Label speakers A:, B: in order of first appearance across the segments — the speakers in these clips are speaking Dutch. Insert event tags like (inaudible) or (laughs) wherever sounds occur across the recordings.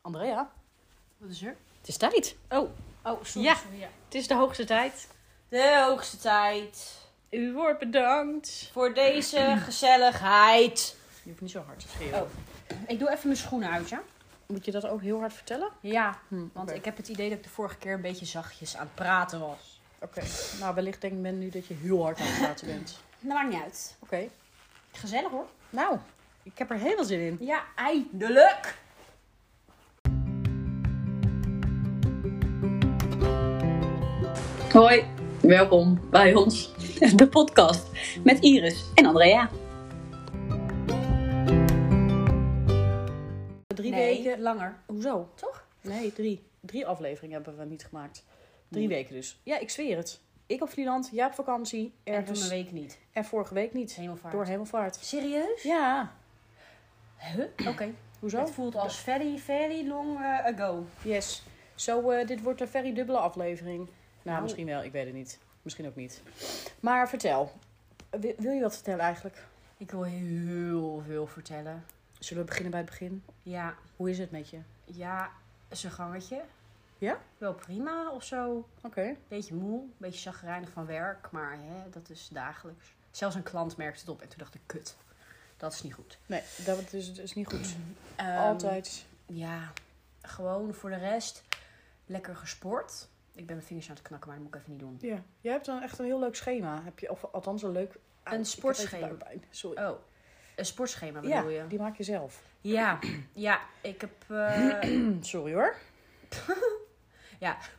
A: Andrea,
B: Wat is er?
A: het is tijd.
B: Oh, oh sorry.
A: Ja.
B: sorry, ja.
A: Het is de hoogste tijd.
B: De hoogste tijd
A: U wordt bedankt.
B: voor (clears throat) deze gezelligheid.
A: Je hoeft niet zo hard te schreeuwen.
B: Oh. Ik doe even mijn schoenen uit, ja?
A: Moet je dat ook heel hard vertellen?
B: Ja,
A: Hm,
B: want ik heb het idee dat ik de vorige keer een beetje zachtjes aan het praten was.
A: Oké. Nou, wellicht denkt men nu dat je heel hard aan het praten bent.
B: Dat maakt niet uit.
A: (laughs) Oké.
B: Gezellig hoor.
A: Nou, ik heb er heel veel zin in.
B: Ja, eindelijk.
C: Hoi, welkom bij ons, de podcast met Iris en Andrea.
A: Drie
B: nee,
A: weken.
B: langer.
A: Hoezo?
B: Toch?
A: Nee, drie. Drie afleveringen hebben we niet gemaakt. Drie
B: Nee.
A: weken dus. Ja, ik zweer het. Ik op Vlieland, jij op vakantie,
B: En toen
A: ergens.
B: een
A: En,
B: week niet.
A: vorige week niet.
B: Hemelvaart.
A: Door hemelvaart.
B: Serieus?
A: Ja.
B: Huh? Oké.
A: Hoezo?
B: Het voelt als very, very long eh, ago.
A: Yes. Zo, eh, dit wordt een very dubbele aflevering. Nou,
B: Nou.
A: misschien wel, ik weet het niet. Misschien ook niet. Maar vertel. Wil, wil je wat vertellen eigenlijk?
B: Ik wil heel veel vertellen.
A: Zullen we beginnen bij het begin?
B: Ja,
A: Hoe is het met je?
B: Ja, zijn gangetje.
A: Ja?
B: Wel prima of zo.
A: Oké.
B: Beetje moe, beetje chagrijnig van werk, maar hè, dat is dagelijks. Zelfs een klant merkte het op en toen dacht ik, kut, dat is niet goed.
A: Nee, dat is, dat is niet goed.
B: Ehm,
A: Altijd.
B: Ja, gewoon voor de rest lekker gesport. Ik ben mijn vingers aan het knakken, maar dat moet ik even niet doen.
A: Ja. Jij hebt dan echt een heel leuk schema. Heb je, of althans een leuk... Au, ik heb
B: sportschema.
A: even buikpijn. Sorry.
B: Oh, een sportschema
A: ja,
B: bedoel je?
A: die maak je zelf.
B: Ja, ja, ik heb... eh,
A: Hm, (clears throat) Sorry hoor.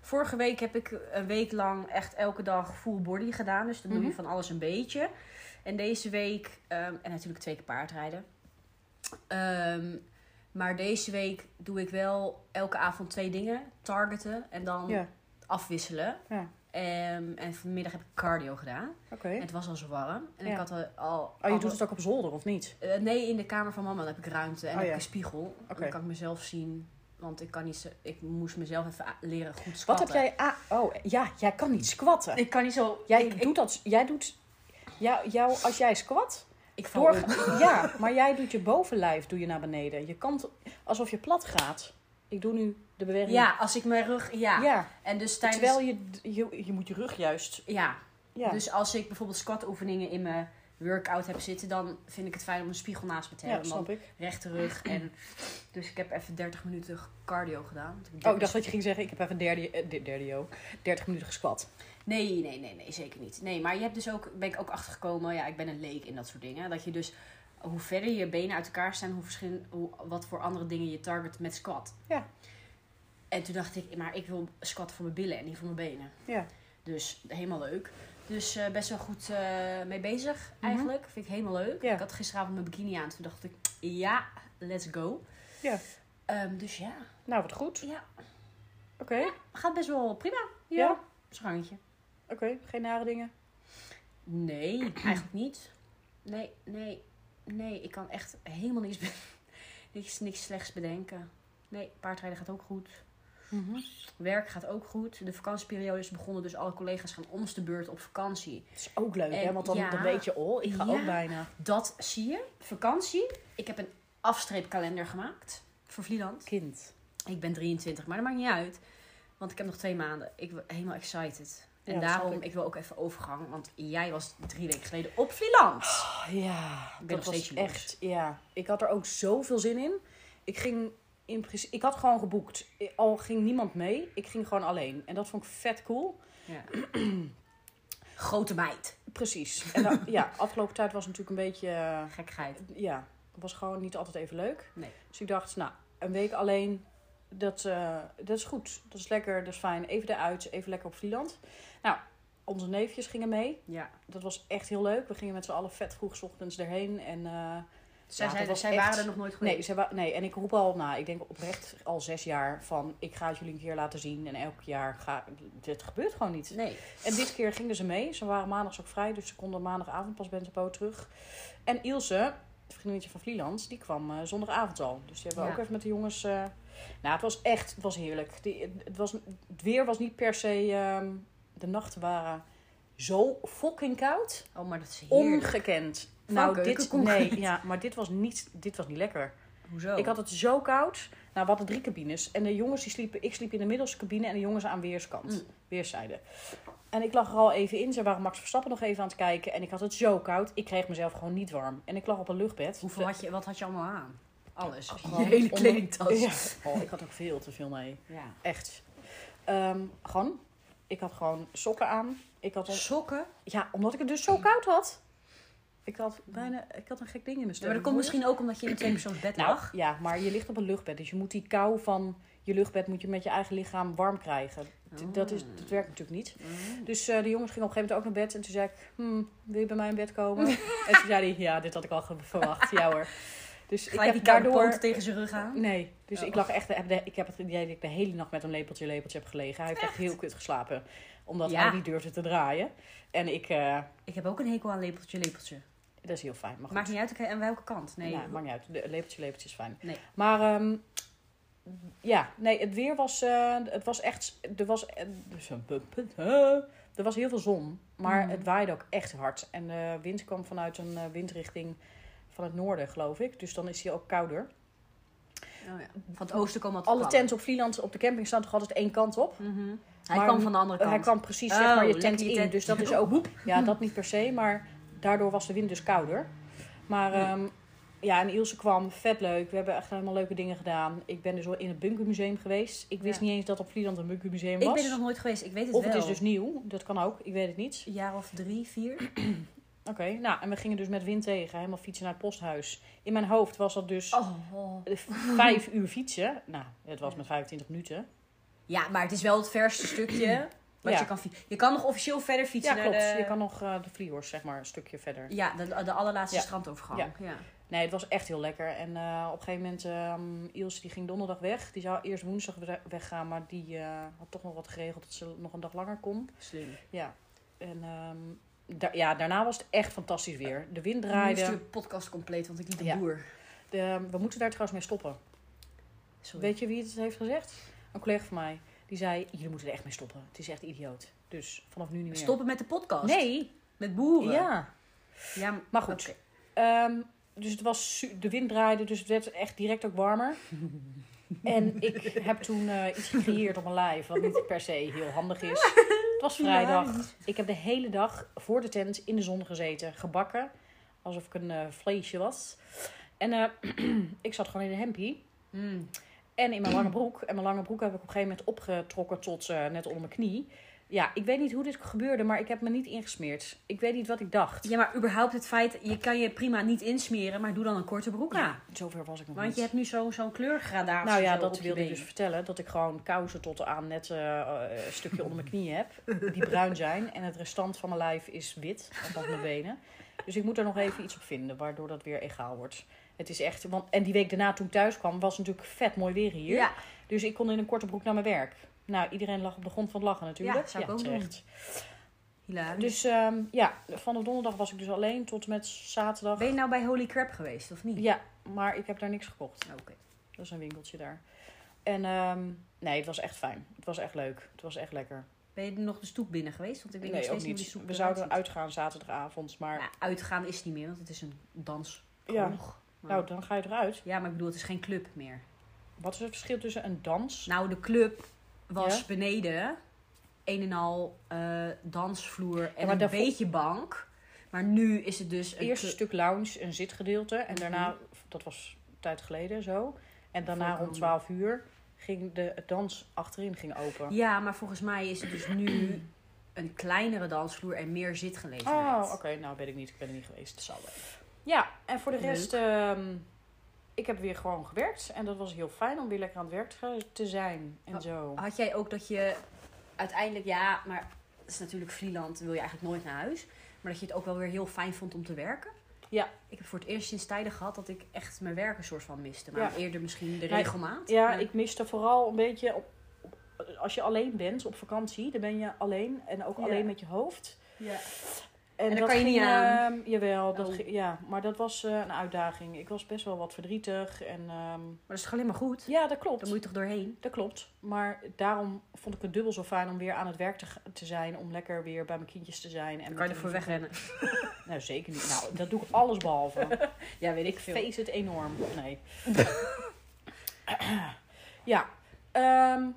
B: Vorige week heb ik een week lang echt elke dag full body gedaan. Dus dan doe je
A: Mhm.
B: van alles een beetje. En deze week, ehm, en natuurlijk twee keer paardrijden. Ehm, maar deze week doe ik wel elke avond twee dingen. Targeten en dan
A: Ja.
B: afwisselen.
A: Ja.
B: Ehm, en vanmiddag heb ik cardio gedaan.
A: Oké.
B: En het was al zo warm. En
A: Ja.
B: ik had al... al
A: Oh, je
B: al-
A: doet het ook op zolder of niet?
B: eh, nee, in de kamer van mama dan heb ik ruimte en
A: Oh,
B: heb ik
A: ja.
B: een spiegel.
A: Oké.
B: Dan kan ik mezelf zien. Want ik kan niet... zo- Ik moest mezelf even a- leren goed squatten.
A: Wat heb jij... Ah, oh, ja, jij kan niet squatten.
B: Ik kan niet zo.
A: Jij
B: ik, ik,
A: doet dat. Jij doet. Jou, jou, als jij squat.
B: ik val
A: Door,
B: om.
A: (laughs) ja, maar jij doet je bovenlijf doe je naar beneden. Je kant alsof je plat gaat. Ik doe nu de beweging.
B: Ja, als ik mijn rug. Ja.
A: Ja,
B: En dus tijdens.
A: Terwijl je, je. Je moet je rug juist.
B: ja.
A: Ja.
B: Dus als ik bijvoorbeeld squat-oefeningen in mijn workout heb zitten, dan vind ik het fijn om een spiegel naast me te
A: ja,
B: hebben.
A: snap
B: want
A: ik.
B: rechte rug. En, dus ik heb even 30 minuten cardio gedaan. want
A: Oh, ik dacht dat je ging zeggen, ik heb even een derde, eh, de- derde jo, 30 minuten gesquat.
B: Nee, nee, nee, nee, zeker niet. Nee, maar je hebt dus ook, ben ik ook achtergekomen, ja, ik ben een leek in dat soort dingen. Dat je dus, hoe verder je benen uit elkaar staan, hoe verschil, hoe, wat voor andere dingen je target met squat.
A: Ja.
B: En toen dacht ik, maar ik wil squat voor mijn billen en niet voor mijn benen.
A: Ja.
B: Dus helemaal leuk. Dus eh, best wel goed eh, mee bezig eigenlijk. Vind ik helemaal leuk.
A: Mhm. Ja.
B: Ik had gisteravond mijn bikini aan. Toen dacht ik, ja, let's go.
A: Ja.
B: Ehm, dus ja,
A: Nou, wat goed.
B: ja,
A: Oké,
B: gaat best wel prima. Ja.
A: Ja?
B: Schangetje.
A: oké. Geen nare dingen.
B: Nee,
A: (clears throat)
B: eigenlijk niet. Nee, nee, nee. Ik kan echt helemaal niks, be- (laughs) niks, niks slechts bedenken. Nee, paardrijden gaat ook goed. Mhm. Werk gaat ook goed. De vakantieperiode is begonnen, dus alle collega's gaan ons de beurt op vakantie.
A: Dat is ook leuk, hè?
B: En
A: Want dan,
B: ja.
A: dan weet je, oh, ik ga
B: Ja.
A: ook bijna.
B: Dat zie je. Vakantie. Ik heb een afstreepkalender gemaakt voor Vlieland.
A: Kind.
B: Ik ben 23, maar dat maakt niet uit. Want ik heb nog twee maanden. Ik ben helemaal excited. En
A: Ja, dat snap
B: daarom,
A: ik.
B: ik. wil ook even overgang. Want jij was drie weken geleden op Vlieland.
A: Oh Ja,
B: ben
A: dat
B: nog
A: was
B: steeds jaloers.
A: echt. Ja, ik had er ook zoveel zin in. Ik ging in principe, ik had gewoon geboekt. I- Al ging niemand mee, ik ging gewoon alleen. En dat vond ik vet cool.
B: Ja. Grote meid.
A: Precies. En
B: (laughs)
A: dan, ja, afgelopen tijd was natuurlijk een beetje, eh,
B: Gekheid.
A: ja, was gewoon niet altijd even leuk.
B: Nee.
A: Dus ik dacht, nou, een week alleen, dat, eh, dat is goed. Dat is lekker, dat is fijn. Even eruit, even lekker op Vlieland. Nou, onze neefjes gingen mee.
B: Ja.
A: Dat was echt heel leuk. We gingen met z'n allen vet vroeg 's ochtends erheen en. eh,
B: Zij,
A: Ja, dat
B: zeiden-
A: was
B: zij
A: echt-
B: waren er nog nooit geweest.
A: Nee, ze wa- nee, en ik roep al, nou, ik denk oprecht al zes jaar van... ik ga het jullie een keer laten zien en elk jaar gaat... dit gebeurt gewoon niet.
B: Nee.
A: En dit keer gingen ze mee. Ze waren maandags ook vrij, dus ze konden maandagavond pas Bentepo terug. En Ilse, het vriendinnetje van Vlieland, die kwam eh, zondagavond al. Dus die hebben we
B: Ja.
A: ook even met de jongens... eh, Nou, het was echt, het was heerlijk. Die, het, was, het weer was niet per se... ehm, de nachten waren zo fucking koud.
B: Oh, maar dat is heerlijk.
A: Ongekend.
B: Van
A: nou, dit,
B: keukenconcreet.
A: nee, ja, maar dit was niet, dit was niet lekker.
B: Hoezo?
A: Ik had het zo koud. Nou, we hadden drie cabines. En de jongens die sliepen... Ik sliep in de middelste cabine en de jongens aan weerskant.
B: Mm.
A: Weerszijde. En ik lag er al even in. Ze waren Max Verstappen nog even aan het kijken. En ik had het zo koud. Ik kreeg mezelf gewoon niet warm. En ik lag op een luchtbed.
B: Hoeveel
A: De-
B: had je, wat had je allemaal aan? Alles.
A: Gewoon
B: hele
A: onder-
B: kledingtas.
A: Ja. Oh, ik had ook veel te veel mee.
B: Ja.
A: Echt. Ehm, gewoon. Ik had gewoon sokken aan. Ik had on-
B: Sokken?
A: Ja, omdat ik het dus zo koud had. Ik had bijna... Ik had een gek ding in mijn
B: Ja,
A: stem.
B: maar dat komt misschien ook omdat je in een tweepersoons bed
A: Nou,
B: lag.
A: ja, maar je ligt op een luchtbed. Dus je moet die kou van je luchtbed moet je met je eigen lichaam warm krijgen. D-
B: Oh.
A: Dat, is, dat werkt natuurlijk niet. Dus eh, de jongens gingen op een gegeven moment ook naar bed. En toen zei ik, hmm, wil je bij mij in bed
B: (laughs)
A: komen? en toen zei hij, ja, dit had ik al ge- verwacht. Ja hoor. Dus ik
B: Gelijk
A: heb
B: die koude
A: daardoor...
B: poot tegen zijn rug aan.
A: Nee, dus
B: Oh.
A: ik lag echt... heb de- Ik heb het idee dat ik de hele nacht met een lepeltje lepeltje heb gelegen. Hij heeft echt, heel kut geslapen. Omdat
B: Ja.
A: hij niet durfde te draaien. En ik... eh,
B: Ik heb ook een hekel aan lepeltje, lepeltje.
A: dat is heel fijn. Maar Oh, goed.
B: Maakt niet uit oké, aan welke kant. Nee.
A: Nee, Nou, maakt niet uit. De lepeltje, lepeltje is fijn.
B: Nee.
A: Maar ehm, ja, nee, het weer was, eh, het was echt, er was, eh, dus een punt, punt, hè. er was heel veel zon, maar
B: Mhm.
A: het waaide ook echt hard. En de wind kwam vanuit een eh, windrichting van het noorden, geloof ik. Dus dan is hij ook kouder.
B: Oh ja. Van het oosten komen altijd
A: Alle tenten op Vlieland op de camping staan toch altijd één kant op.
B: Mhm. Hij
A: Maar-
B: kwam van de andere kant.
A: Hij kwam precies zeg
B: Oh,
A: maar je
B: lekker
A: tent
B: je
A: in,
B: tent.
A: dus dat is
B: (laughs)
A: ook, ja, dat niet per se, maar daardoor was de wind dus kouder. Maar ehm, ja, en Ilse kwam, vet leuk. We hebben echt helemaal leuke dingen gedaan. Ik ben dus wel in het bunkermuseum geweest. Ik wist
B: Ja.
A: niet eens dat op Vlieland een bunkermuseum was.
B: Ik ben er nog nooit geweest. Ik weet het
A: of
B: wel.
A: het is dus nieuw, dat kan ook. Ik weet het niet.
B: Een jaar of drie, vier.
A: Oké, nou, en we gingen dus met wind tegen, helemaal fietsen naar het posthuis. In mijn hoofd was dat dus
B: Oh.
A: eh, vijf uur fietsen. Nou, het was met 25 minuten.
B: Ja, maar het is wel het verste stukje wat
A: Ja.
B: je kan fietsen. Je kan nog officieel verder
A: Ja,
B: fietsen
A: klopt.
B: naar de...
A: Je kan nog eh, de Vliehorst, zeg maar, een stukje verder.
B: Ja, de, de allerlaatste
A: Ja.
B: strandovergang.
A: Ja.
B: Ja.
A: Nee, het was echt heel lekker. En eh, op een gegeven moment, ehm Ilse die ging donderdag weg. Die zou eerst woensdag we- weggaan, maar die eh, had toch nog wat geregeld dat ze nog een dag langer kon.
B: Slim.
A: Ja. En ehm, da- ja, daarna was het echt fantastisch weer. De wind
B: Nu is
A: draaide.
B: de podcast compleet, want ik liep de
A: Ja.
B: boer.
A: De- we moeten daar trouwens mee stoppen.
B: Sorry.
A: Weet je wie het heeft gezegd? Een collega van mij. Die zei, jullie moeten er echt mee stoppen. Het is echt idioot. Dus vanaf nu niet meer.
B: Stoppen met de podcast.
A: Nee.
B: Met boeren.
A: Ja.
B: Ja, m-
A: Maar goed.
B: oké.
A: Ehm, dus het was, su- de wind draaide, dus het werd echt direct ook warmer.
B: (laughs)
A: en ik heb toen eh, iets gecreëerd op mijn lijf, wat niet per se heel handig
B: (laughs)
A: is. Het was vrijdag. Ik heb de hele dag voor de tent in de zon gezeten, gebakken. Alsof ik een eh, vleesje was. En eh, (clears throat) ik zat gewoon in een hempie.
B: Mm.
A: En in mijn lange broek. En mijn lange broek heb ik op een gegeven moment opgetrokken tot eh, net onder mijn knie. Ja, ik weet niet hoe dit gebeurde, maar ik heb me niet ingesmeerd. Ik weet niet wat ik dacht.
B: Ja, maar überhaupt het feit, je kan je prima niet insmeren, maar doe dan een korte broek aan.
A: Zover was ik nog
B: Want
A: niet.
B: je hebt nu zo- zo'n kleurgradatie.
A: Nou ja,
B: zo op
A: dat
B: je
A: wilde ik
B: been.
A: dus vertellen. Dat ik gewoon kousen tot aan net eh, eh, een stukje onder
B: (laughs)
A: mijn knie heb. Die bruin zijn. En het restant van mijn lijf is wit. Althans mijn benen. Dus ik moet er nog even iets op vinden. Waardoor dat weer egaal wordt. Het is echt... Want, en die week daarna toen ik thuis kwam was natuurlijk vet mooi weer hier.
B: Ja,
A: Dus ik kon in een korte broek naar mijn werk. Nou, iedereen lag op de grond van het lachen natuurlijk.
B: Ja, zou ik ook doen.
A: terecht.
B: hilarisch.
A: Dus ehm, ja, vanaf donderdag was ik dus alleen tot en met zaterdag.
B: Ben je nou bij Holy Crap geweest, of niet?
A: Ja, maar ik heb daar niks gekocht.
B: Oké.
A: Dat is een winkeltje daar. En ehm, nee, het was echt fijn. Het was echt leuk. Het was echt lekker.
B: Ben je nog de stoep binnen geweest? Want ik weet nog
A: nee, ook
B: steeds niet hoe die
A: niet.
B: stoep
A: We
B: eruit
A: zouden
B: ziet.
A: uitgaan zaterdagavond, maar
B: Nou, uitgaan is het niet meer, want het is een dans.
A: ja. Nou, dan ga je eruit.
B: ja, maar ik bedoel, het is geen club meer.
A: Wat is het verschil tussen een dans?
B: Nou, de club was
A: Ja?
B: beneden. Een en al eh, dansvloer en
A: maar
B: een
A: daarvoor-
B: beetje bank. Maar nu is het dus
A: Het
B: een Mhm.
A: eerste
B: clu-
A: stuk lounge, een zitgedeelte. En daarna, dat was een tijd geleden zo. En daarna
B: Voorkomen.
A: rond 12 uur ging de het dans achterin ging open.
B: Ja, maar volgens mij is het dus nu een kleinere dansvloer en meer zitgelegenheid.
A: Oh, oké. Nou, weet ik niet. Ik ben er niet geweest. Ja, en voor de
B: Leuk.
A: rest, ehm, ik heb weer gewoon gewerkt. En dat was heel fijn om weer lekker aan het werk te- te zijn. En
B: Oh,
A: zo.
B: Had jij ook dat je uiteindelijk, ja, maar het is natuurlijk Vlieland, wil je eigenlijk nooit naar huis. Maar dat je het ook wel weer heel fijn vond om te werken?
A: Ja.
B: Ik heb voor het eerst sinds tijden gehad dat ik echt mijn werk een soort van miste. Maar
A: Ja.
B: eerder misschien de
A: Nee,
B: regelmaat.
A: Ja,
B: Maar-
A: ik miste vooral een beetje op, op- als je alleen bent op vakantie, dan ben je alleen en ook
B: Ja.
A: alleen met je hoofd.
B: Ja.
A: En,
D: daar
A: dat
D: kan je niet
A: ging,
D: aan.
A: ehm, jawel, dat
B: Oh.
A: ging- ja, maar dat was eh, een uitdaging. Ik was best wel wat verdrietig. En, ehm,
B: Maar dat is toch alleen maar goed?
A: ja, dat klopt.
B: Daar moet je toch doorheen?
A: Dat klopt. Maar daarom vond ik het dubbel zo fijn om weer aan het werk te, ga- te zijn. Om lekker weer bij mijn kindjes te zijn. En
B: Dan
A: met
B: kan je
A: hun-
B: ervoor wegrennen.
A: Nou, zeker niet. Nou, dat doe ik alles
B: (laughs)
A: behalve.
B: Ja, weet ik
A: Ik
B: veel.
A: feest het enorm.
B: (laughs)
A: Nee. ja. ehm,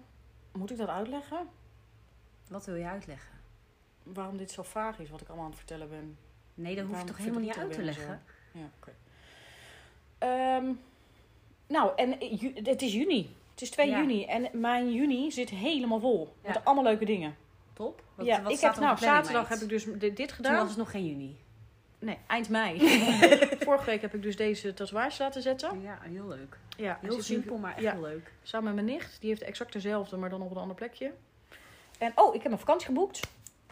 A: moet ik dat uitleggen?
B: Wat wil je uitleggen?
A: Waarom dit zo vaag is, wat ik allemaal aan het vertellen ben.
B: Nee, dat hoef je
A: Waarom
B: toch helemaal niet uit te
A: verdrietig ben
B: leggen?
A: Ja, oké. Ehm, nou, en eh, ju- het is juni. Het is 2
B: Ja.
A: juni. En mijn juni zit helemaal vol.
B: Ja.
A: Met allemaal leuke dingen.
B: Top. Wat,
A: ja,
B: wat
A: ik
B: staat
A: heb,
B: er op
A: nou,
B: de planning,
A: zaterdag
B: meid?
A: heb ik dus dit, dit
B: Toen
A: gedaan.
B: was het nog geen juni.
A: Nee, eind mei.
B: (laughs)
A: Vorige week heb ik dus deze tatoeage laten zetten.
B: Ja, heel leuk.
A: Ja, het
B: Heel
A: is nu-
B: simpel, maar echt
A: ja.
B: heel leuk.
A: Samen met mijn nicht. Die heeft exact dezelfde, maar dan op een ander plekje. En oh, ik heb een vakantie geboekt.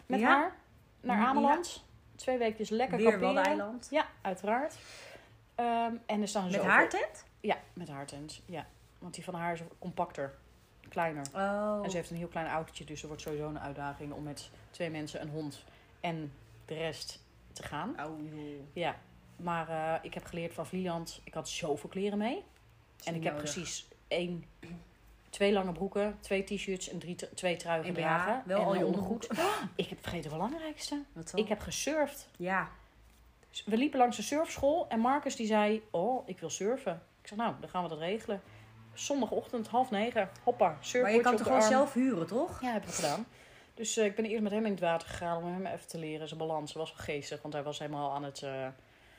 A: Met
B: Ja?
A: haar. Naar
B: Ja.
A: Ameland. Twee weekjes lekker
B: Weer
A: kamperen.
B: Waddeneiland.
A: Ja, uiteraard. Ehm, en er staan
B: Met
A: zoveel-
B: haar tent?
A: Ja, met haar tent. Ja. Want die van haar is compacter. Kleiner.
B: Oh.
A: En ze heeft een heel klein autootje, dus er wordt sowieso een uitdaging om met twee mensen, een hond en de rest te gaan.
B: Oh, joh.
A: Ja, maar eh, ik heb geleerd van Vlieland. Ik had zoveel kleren mee.
B: Is
A: En
B: niet
A: ik heb
B: nodig.
A: precies één, twee lange broeken, twee t-shirts en drie, t- twee truien
B: En
A: gedragen.
B: ja, wel
A: en
B: al je
A: een
B: ondergoed.
A: (laughs) Ik heb vergeten het belangrijkste.
B: Wat dan?
A: Ik heb gesurfd.
B: Ja.
A: We liepen langs een surfschool en Marcus die zei, oh, ik wil surfen. Ik zeg, nou, dan gaan we dat regelen. Zondagochtend, half negen, hoppa, surfboardje
B: Maar je kan
A: op
B: toch
A: de
B: gewoon
A: arm.
B: zelf huren, toch?
A: Ja, heb ik gedaan. Dus eh, ik ben eerst met hem in het water gegaan om hem even te leren. Zijn balans was wel geestig, want hij was helemaal aan het... eh,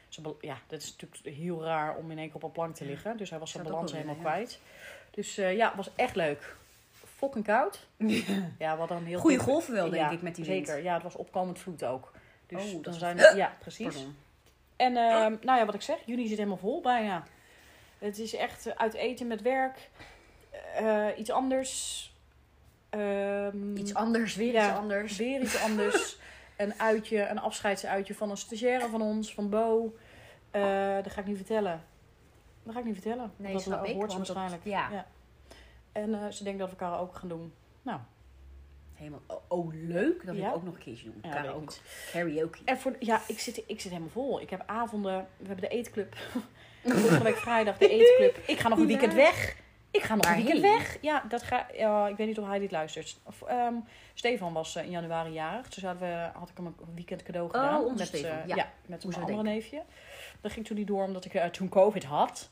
A: zijn bal- ja, dat is natuurlijk heel raar om in één keer op een plank te liggen. Dus hij was zijn
B: Zou het
A: balans
B: ook wel
A: helemaal
B: willen,
A: kwijt. Dus eh, ja, het was echt leuk. Fucking
B: (laughs)
A: koud. Ja, wat een heel
B: Goeie
A: goed-
B: golven wel, denk
A: Ja,
B: ik, met die wind.
A: Zeker, ja, het was opkomend vloed ook.
B: Oh,
A: Dus
B: dat
A: dan
B: is-
A: zijn we... Ja, precies.
B: Pardon.
A: En ehm, nou ja, wat ik zeg, juni zit helemaal vol bijna. Het is echt eh, uit eten met werk, eh, iets anders. Ehm,
B: Iets anders, weer
A: Ja.
B: iets anders.
A: Weer iets
B: (laughs)
A: anders. een uitje, een afscheidsuitje van een stagiaire van ons, van Bo. Eh, dat ga ik niet vertellen. Dat ga ik niet vertellen.
B: Nee,
A: dat
B: snap ik.
A: hoort ze
B: want dat-
A: waarschijnlijk.
B: ja,
A: Ja. En eh, ze denkt dat we elkaar ook gaan doen. Nou,
B: helemaal. Oh, oh, leuk. Dat wil
A: Ja.
B: ik ook nog een keertje doen.
A: ja, weet ik
B: Karaoke.
A: niet.
B: Karaoke.
A: En voor, ja, ik zit, ik zit helemaal vol. Ik heb avonden. We hebben de eetclub. (laughs) Vorige week vrijdag de eetclub. Ik ga nog een weekend weg. Ik ga nog een weekend
B: Waarheen?
A: weg. Ja, dat ga, ja, ik weet niet of hij dit luistert. Of, ehm, Stefan was eh, in januari jarig. Dus hadden we, had ik hem een weekend cadeau gedaan.
B: Oh, onze
A: met,
B: Stefan,
A: eh,
B: ja.
A: met
B: Moest
A: mijn
B: hij
A: andere neefje. Dat ging toen niet door omdat ik eh, toen COVID had.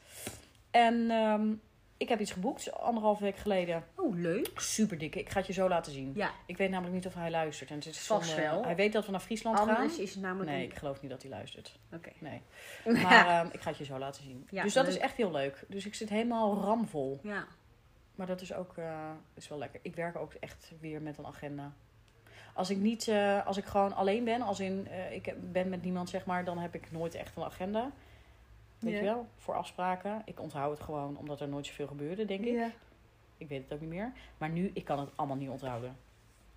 A: En ehm, ik heb iets geboekt anderhalf week geleden.
B: Oh, leuk.
A: Super dik. Ik ga het je zo laten zien.
B: Ja,
A: Ik weet namelijk niet of hij luistert. En het is
B: Vast
A: zonde.
B: wel.
A: Hij weet dat we naar Friesland gaan.
B: anders is het namelijk.
A: Nee,
B: een-
A: ik geloof niet dat hij luistert.
B: Oké.
A: Nee.
B: (laughs) Ja.
A: Maar ehm, ik ga het je zo laten zien.
B: Ja,
A: dus dat
B: leuk.
A: is echt heel leuk. Dus ik zit helemaal ramvol.
B: Ja.
A: Maar dat is ook eh, is wel lekker. Ik werk ook echt weer met een agenda. Als ik, niet, eh, als ik gewoon alleen ben, als in eh, ik ben met niemand, zeg maar, dan heb ik nooit echt een agenda. Weet
B: Ja.
A: je wel? Voor afspraken. Ik onthoud het gewoon omdat er nooit zoveel gebeurde, denk ik. Ik weet het ook niet meer. Maar nu, ik kan het allemaal niet onthouden.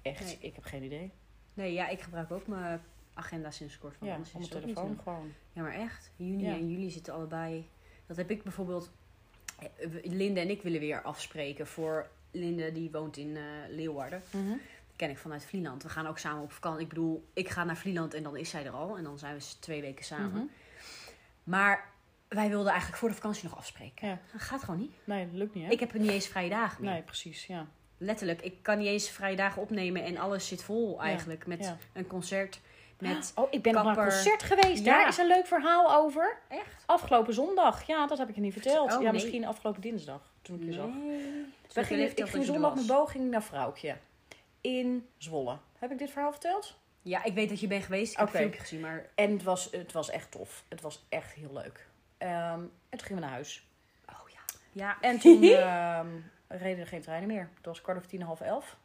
A: Echt,
B: Nee.
A: ik heb geen idee.
B: Nee, ja, ik gebruik ook mijn agenda sinds kort van
A: Ja,
B: anders
A: op
B: Oh, is
A: mijn
B: het ook
A: telefoon
B: niet zo.
A: gewoon.
B: Ja, maar echt. Juni
A: Ja.
B: en juli zitten allebei. Dat heb ik bijvoorbeeld. eh, we- Linde en ik willen weer afspreken voor Linde, die woont in eh, Leeuwarden.
A: Mhm.
B: Ken ik vanuit Vlieland. We gaan ook samen op vakantie. Ik bedoel, ik ga naar Vlieland en dan is zij er al. En dan zijn we s- twee weken samen.
A: Mhm.
B: Maar wij wilden eigenlijk voor de vakantie nog afspreken.
A: Ja.
B: Dat gaat gewoon niet.
A: Nee, dat lukt niet, hè?
B: Ik heb niet eens vrije dagen meer.
A: Nee, precies, ja.
B: Letterlijk, ik kan niet eens vrije dagen opnemen en alles zit vol
A: Ja,
B: eigenlijk. Met
A: ja.
B: een concert, met...
A: (gasps) Oh, ik ben nog naar een
B: Kapper.
A: concert geweest.
B: Ja.
A: Daar is een leuk verhaal over.
B: Echt?
A: Afgelopen zondag. Ja, dat heb ik je niet verteld.
B: Oh,
A: ja,
B: nee.
A: misschien afgelopen dinsdag. Toen ik je zag.
B: Toen
A: Wij
B: ik
A: gingen,
B: leeftijd
A: ik ging
B: dat je er
A: zondag met
B: was.
A: Bo ging ik naar Vrouwtje. In Zwolle. Heb ik dit verhaal verteld?
B: Ja, ik weet dat je bent geweest. Ik heb
A: Oké.
B: een filmpje gezien, maar...
A: En het was, het was echt tof. Het was echt heel leuk. Ehm, en toen gingen we naar huis.
B: Oh ja. Ja,
A: En
B: (laughs)
A: toen ehm, reden er geen treinen meer. Het was kwart over tien, half elf.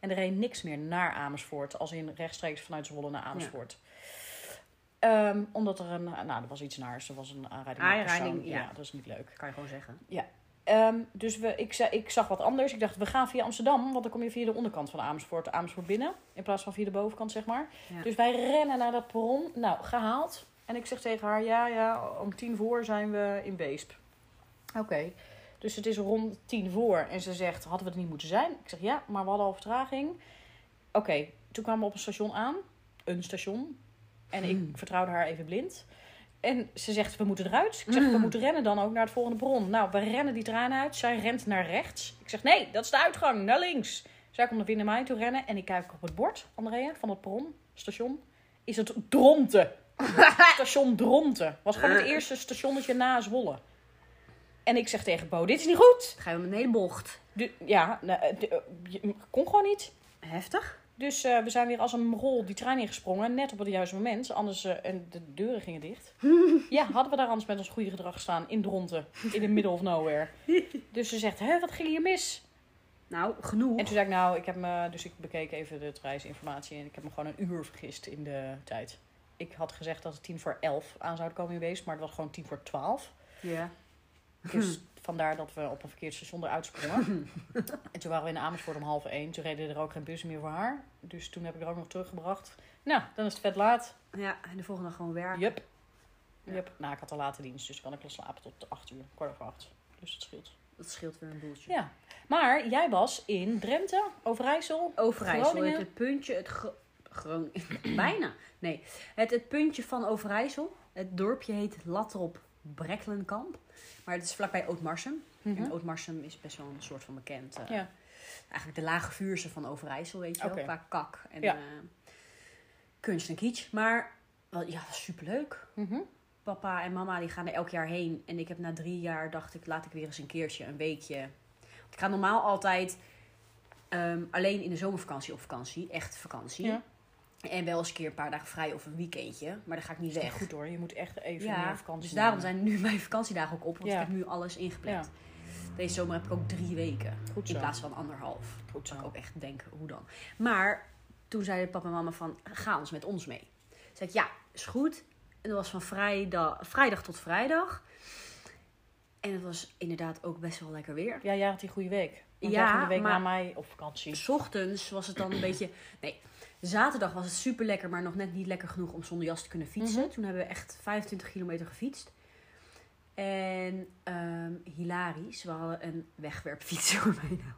A: En er reed niks meer naar Amersfoort. Als in rechtstreeks vanuit Zwolle naar Amersfoort. Ehm, omdat er een... Nou, er was iets naars. Er was een aanrijding. met een persoon.
B: Aanrijding, ja.
A: dat is niet leuk.
B: kan je gewoon zeggen.
A: Ehm, dus we, ik, zei- ik zag wat anders. Ik dacht, we gaan via Amsterdam. Want dan kom je via de onderkant van Amersfoort. Amersfoort binnen. In plaats van via de bovenkant, zeg maar.
B: Ja.
A: Dus wij rennen naar dat perron. Nou, gehaald. En ik zeg tegen haar, ja, ja, om tien voor zijn we in Weesp. Oké. Dus het is rond tien voor. En ze zegt, hadden we het niet moeten zijn? Ik zeg, ja, maar we hadden al vertraging. Oké, toen kwamen we op een station aan. Een station. En ik vertrouwde haar even blind. En ze zegt, we moeten eruit. Ik zeg, we moeten rennen dan ook naar het volgende bron. Nou, we rennen die traan uit. Zij rent naar rechts. Ik zeg, nee, dat is de uitgang, naar links. Zij komt weer naar mij toe rennen. En ik kijk op het bord, Andrea, van het bron, station. Is het Dronten. station Dronten. Was gewoon het eerste stationnetje na Zwolle. En ik zeg tegen Bo, dit is niet goed.
B: Ga je met een hele bocht.
A: Du- ja, nou, eh, de- eh, je- kon gewoon niet.
B: Heftig.
A: Dus eh, we zijn weer als een rol die trein ingesprongen. Net op het juiste moment. Anders, eh, en de deuren gingen dicht. ja, hadden we daar anders met ons goede gedrag gestaan. In Dronten. In the middle of nowhere. Dus ze zegt, hè, wat ging hier mis?
B: Nou, genoeg.
A: En toen zei ik, nou, ik heb me... Dus ik bekeek even de reisinformatie. En ik heb me gewoon een uur vergist in de tijd. Ik had gezegd dat het tien voor elf aan zou komen in Wees. Maar het was gewoon tien voor twaalf.
B: Ja. (clears throat)
A: Dus vandaar dat we op een verkeerd station eruit sprongen. en toen waren we in Amersfoort om half één. Toen reden er ook geen bussen meer voor haar. Dus toen heb ik haar ook nog teruggebracht. Nou, dan is het vet laat.
B: ja, en de volgende dag gewoon werken.
A: Jup. Jup. Nou, ik had een late dienst, dus kan ik wel slapen tot acht uur. Kwart over acht. Dus dat scheelt.
B: Dat scheelt weer een boeltje.
A: Ja. Maar jij was in Drenthe, Overijssel.
B: Overijssel, het,
A: Groningen.
B: het puntje, het gro- Groningen, (clears throat) bijna. Nee, het, het puntje van Overijssel. Het dorpje heet Latrop Brekkelenkamp. Maar het is vlakbij Ootmarsum.
A: Mhm.
B: En Ootmarsum is best wel een soort van bekend. eh,
A: Ja.
B: Eigenlijk de lage vuurse van Overijssel, weet je wel.
A: Oké.
B: Qua kak en
A: Ja.
B: eh, kunst en kitsch. Maar wel, ja, superleuk.
A: Mhm.
B: Papa en mama die gaan er elk jaar heen. En ik heb na drie jaar dacht ik, laat ik weer eens een keertje, een weekje. Want ik ga normaal altijd ehm, alleen in de zomervakantie op vakantie. Echt vakantie.
A: Ja.
B: En wel eens een keer een paar dagen vrij of een weekendje. Maar daar ga ik niet
A: Echt
B: weg.
A: goed hoor. Je moet echt even
B: Ja,
A: meer vakantie
B: dus daarom
A: nemen.
B: zijn nu mijn vakantiedagen ook op. Want
A: Ja.
B: ik heb nu alles ingepland. Deze zomer heb ik ook drie weken.
A: Goed
B: In
A: zo.
B: plaats van anderhalf.
A: Goed
B: Zou
A: zo.
B: ik ook echt denken, hoe dan? Maar toen zeiden papa en mama van, ga ons met ons mee. Toen zei ik, ja, is goed. En dat was van vrijdag, vrijdag tot vrijdag. En het was inderdaad ook best wel lekker weer.
A: Ja, jij had die goede week. Want
B: Ja,
A: jij ging de week
B: maar-
A: na mij op
B: (laughs)
A: vakantie.
B: S ochtends was het dan een beetje... Nee, zaterdag was het super lekker, maar nog net niet lekker genoeg om zonder jas te kunnen fietsen.
A: Mhm.
B: Toen hebben we echt 25 kilometer gefietst. En ehm, hilarisch, we hadden een wegwerpfiets (laughs) voor mij nou.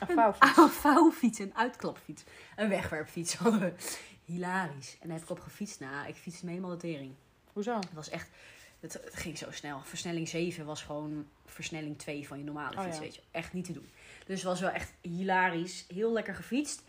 A: Een fout.
B: (laughs) Een vouwfiets, een uitklapfiets. Een wegwerpfiets. (laughs) Hilarisch. En daar heb ik op gefietst. Nou, ik fietste me helemaal de tering.
A: Hoezo?
B: Het was echt... Het, het ging zo snel. Versnelling 7 was gewoon versnelling 2 van je normale
A: Oh
B: fiets,
A: ja.
B: weet je. Echt niet te doen. Dus het was wel echt hilarisch. Heel lekker gefietst.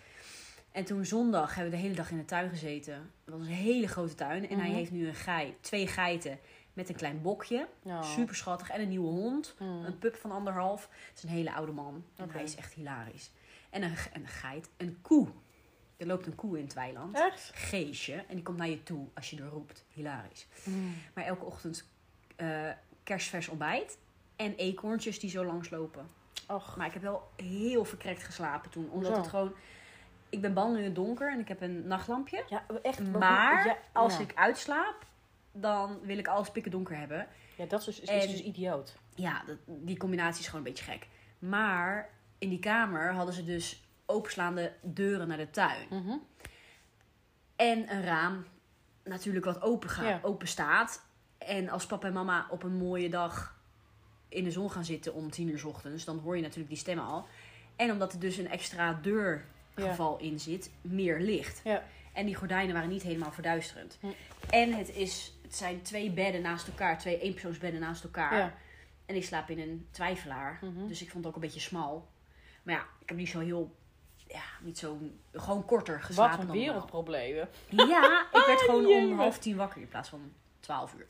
B: En toen zondag hebben we de hele dag in de tuin gezeten. Het was een hele grote tuin. En hij
A: Mhm.
B: heeft nu een gei, twee geiten met een klein bokje.
A: Nou.
B: Super schattig. En een nieuwe hond.
A: Mm.
B: Een pup van anderhalf. Het is een hele oude man. En
A: Oké.
B: hij is echt hilarisch. En een, ge- een geit. Een koe. Er loopt een koe in het weiland.
A: Echt?
B: Geesje. En die komt naar je toe als je er roept. Hilarisch. Maar elke ochtend eh, kerstvers ontbijt. En eekhoorntjes die zo langslopen.
A: Och.
B: Maar ik heb wel heel verkrekt geslapen toen. Omdat
A: Zo.
B: het gewoon... Ik ben bang in het donker en ik heb een nachtlampje.
A: Ja, echt.
B: Maar
A: Ja,
B: als
A: ja.
B: ik uitslaap, dan wil ik alles pikken donker hebben.
A: Ja, dat is, is
B: En-
A: dus idioot.
B: ja, dat, die combinatie is gewoon een beetje gek. Maar in die kamer hadden ze dus openslaande deuren naar de tuin. En een raam natuurlijk wat open, gaat,
A: Ja.
B: open staat. En als papa en mama op een mooie dag in de zon gaan zitten om tien uur 's ochtends, dan hoor je natuurlijk die stemmen al. En omdat er dus een extra deurgeval in zit, meer licht.
A: Ja.
B: En die gordijnen waren niet helemaal verduisterend.
A: Hm.
B: En het, is, het zijn twee bedden naast elkaar, twee eenpersoonsbedden naast elkaar.
A: Ja.
B: En ik slaap in een twijfelaar.
A: Mhm.
B: Dus ik vond het ook een beetje smal. Maar ja, ik heb niet zo heel. Ja, niet zo. Gewoon korter geslapen
A: Wat een
B: dan normaal.
A: wereldproblemen.
B: Ja, ik
A: (laughs)
B: werd gewoon om
A: Jeetje.
B: half tien wakker in plaats van twaalf uur.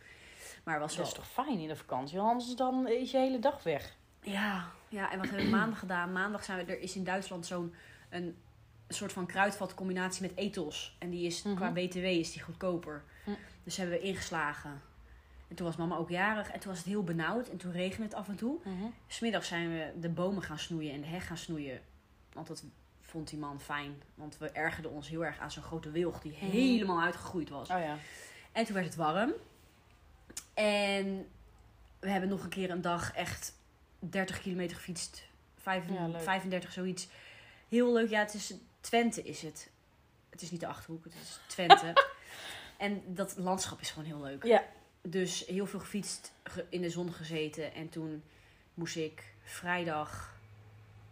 B: Maar was
A: Dat
B: wel.
A: is toch fijn in de vakantie, want anders dan is je hele dag weg.
B: Ja, ja, en wat hebben
A: (clears throat)
B: we maandag gedaan? Maandag zijn we, er is in Duitsland zo'n een, soort van kruidvatcombinatie met ethos. En die is
A: Mhm.
B: qua BTW is die goedkoper.
A: Mm.
B: Dus hebben we ingeslagen. En toen was mama ook jarig en toen was het heel benauwd en toen regende het af en toe. Smiddag zijn we de bomen gaan snoeien en de heg gaan snoeien. Want dat vond die man fijn. Want we ergerden ons heel erg aan zo'n grote wilg die helemaal uitgegroeid was.
A: Oh ja.
B: En toen werd het warm. En we hebben nog een keer een dag echt 30 kilometer gefietst. Vijf-
A: Ja, leuk.
B: 35, zoiets. Heel leuk. Ja, het is Twente is het. Het is niet de Achterhoek, het is
A: (laughs)
B: Twente. en dat landschap is gewoon heel leuk.
A: Ja.
B: Dus heel veel gefietst, ge- in de zon gezeten. En toen moest ik vrijdag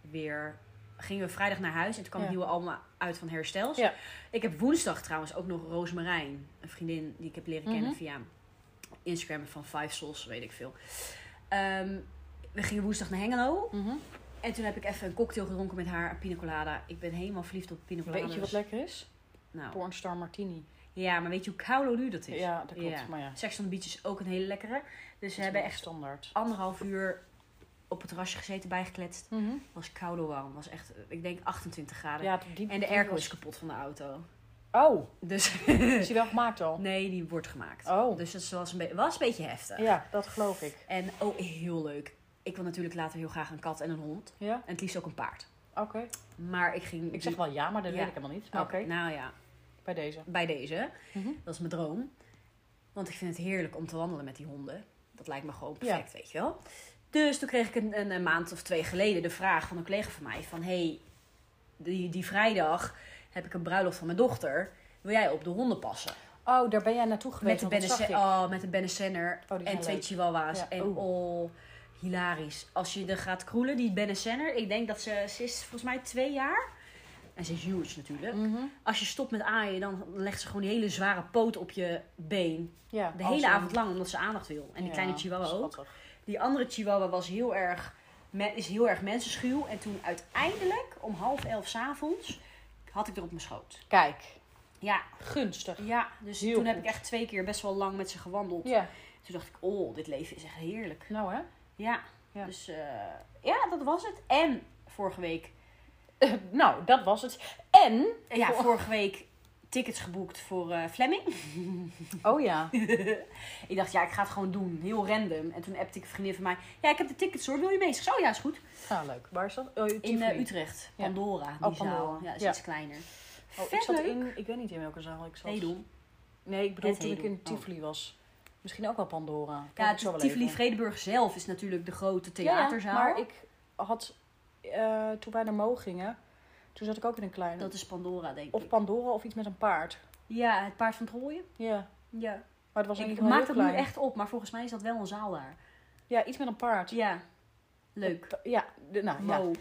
B: weer eh, gingen we vrijdag naar huis en toen kwam
A: Ja.
B: het nieuwe album uit van Herstels.
A: Ja.
B: Ik heb woensdag trouwens ook nog Roosmarijn, een vriendin die ik heb leren kennen
A: Mhm.
B: via Instagram van Five Souls, weet ik veel. Ehm, we gingen woensdag naar Hengelo
A: Mhm.
B: en toen heb ik even een cocktail gedronken met haar, een pina colada. Ik ben helemaal verliefd op pina coladas.
A: Weet je wat lekker is?
B: nou,
A: Pornstar Martini.
B: Ja, maar weet je hoe koulo nu dat is?
A: Ja, dat klopt.
B: Ja.
A: Maar ja,
B: Sex on the Beach is ook een hele lekkere. Dus we
A: het
B: hebben
A: is
B: echt
A: standaard.
B: anderhalf uur op het terrasje gezeten, bijgekletst.
A: Mhm.
B: Was koude warm. Was echt, eh, ik denk 28 graden.
A: Ja, die,
B: En de
A: die
B: airco
A: was-
B: is kapot van de auto.
A: Oh, (laughs)
B: Dus
A: is die wel gemaakt al?
B: nee, die wordt gemaakt.
A: Oh.
B: Dus eh, dat was een, be- was een beetje heftig.
A: Ja, dat geloof ik.
B: En oh, heel leuk. Ik wil natuurlijk later heel graag een kat en een hond.
A: Ja,
B: En het liefst ook een paard.
A: oké.
B: Maar ik ging...
A: Ik zeg wel ja, maar dat
B: Ja.
A: weet ik helemaal niet. Maar
B: Oké.
A: oké,
B: Nou ja,
A: bij deze.
B: bij deze.
A: Mhm.
B: Dat is mijn droom. Want ik vind het heerlijk om te wandelen met die honden. Dat lijkt me gewoon perfect, weet je wel. Dus toen kreeg ik een, een, een maand of twee geleden de vraag van een collega van mij. Van, hey, die, die vrijdag heb ik een bruiloft van mijn dochter. Wil jij op de honden passen?
A: Oh, daar ben jij naartoe
B: Met
A: geweest.
B: de,
A: want dat
B: Benne-
A: zag ik.
B: oh, met de Benesenner
A: Oh, die zijn
B: en twee
A: leuk.
B: chihuahua's.
A: Ja,
B: En oh, hilarisch. Als je er gaat kroelen, die Benesenner. Ik denk dat ze, ze is volgens mij twee jaar. En ze is huge natuurlijk.
A: Mhm.
B: Als je stopt met aaien, dan legt ze gewoon die hele zware poot op je been.
A: Ja,
B: De
A: als
B: hele
A: een-
B: avond lang, omdat ze aandacht wil. En die
A: Ja,
B: kleine chihuahua ook.
A: schattig.
B: Die andere chihuahua was heel erg, me- is heel erg mensenschuw. En toen uiteindelijk, om half elf s'avonds, had ik er op mijn schoot.
A: Kijk,
B: Ja,
A: gunstig.
B: ja. Dus
A: Heel
B: toen heb
A: goed.
B: ik echt twee keer best wel lang met ze gewandeld.
A: Ja,
B: Toen dacht ik, oh, dit leven is echt heerlijk.
A: nou hè. (laughs)
B: Ja,
A: Ja.
B: dus eh, ja, dat was het. En vorige week,
A: nou, dat was het. En,
B: ja,
A: Vor-
B: vorige week tickets geboekt voor eh Flemming.
A: oh ja,
B: (laughs) Ik dacht, ja, ik ga het gewoon doen. Heel random. En toen appte ik een vriendin van mij. Ja, ik heb de tickets hoor. Wil je mee? Ik zeg, oh ja, is goed.
A: nou leuk. Waar is dat? Oh,
B: In
A: Tivoli.
B: eh, Utrecht.
A: Ja.
B: Pandora. Die
A: Oh, Pandora.
B: zaal. Ja, is
A: Ja.
B: iets kleiner.
A: Oh, ik
B: Vet
A: zat
B: leuk.
A: in, Oh, ik weet niet in welke zaal ik zat.
B: Nee, doen.
A: Nee, ik bedoel
B: Het
A: toen ik
B: Hedon.
A: in Tivoli was. Misschien ook wel Pandora. Kijk
B: Oh. Ja,
A: ik zo wel
B: Tivoli
A: even.
B: Vredeburg zelf is natuurlijk de grote
A: Ja,
B: theaterzaal.
A: maar ik had, eh, toen wij naar Mo gingen, toen zat ik ook in een kleine.
B: Dat is Pandora, denk ik.
A: Of Pandora of iets met een paard.
B: Ja, het paard van Troje.
A: Ja,
B: Ja.
A: maar het was in
B: Ik
A: ieder geval
B: maak
A: heel
B: dat nu
A: klein.
B: echt op, maar volgens mij is dat wel een zaal daar.
A: Ja, iets met een paard.
B: Ja. Leuk.
A: Ja, de, nou ja.
B: Wow.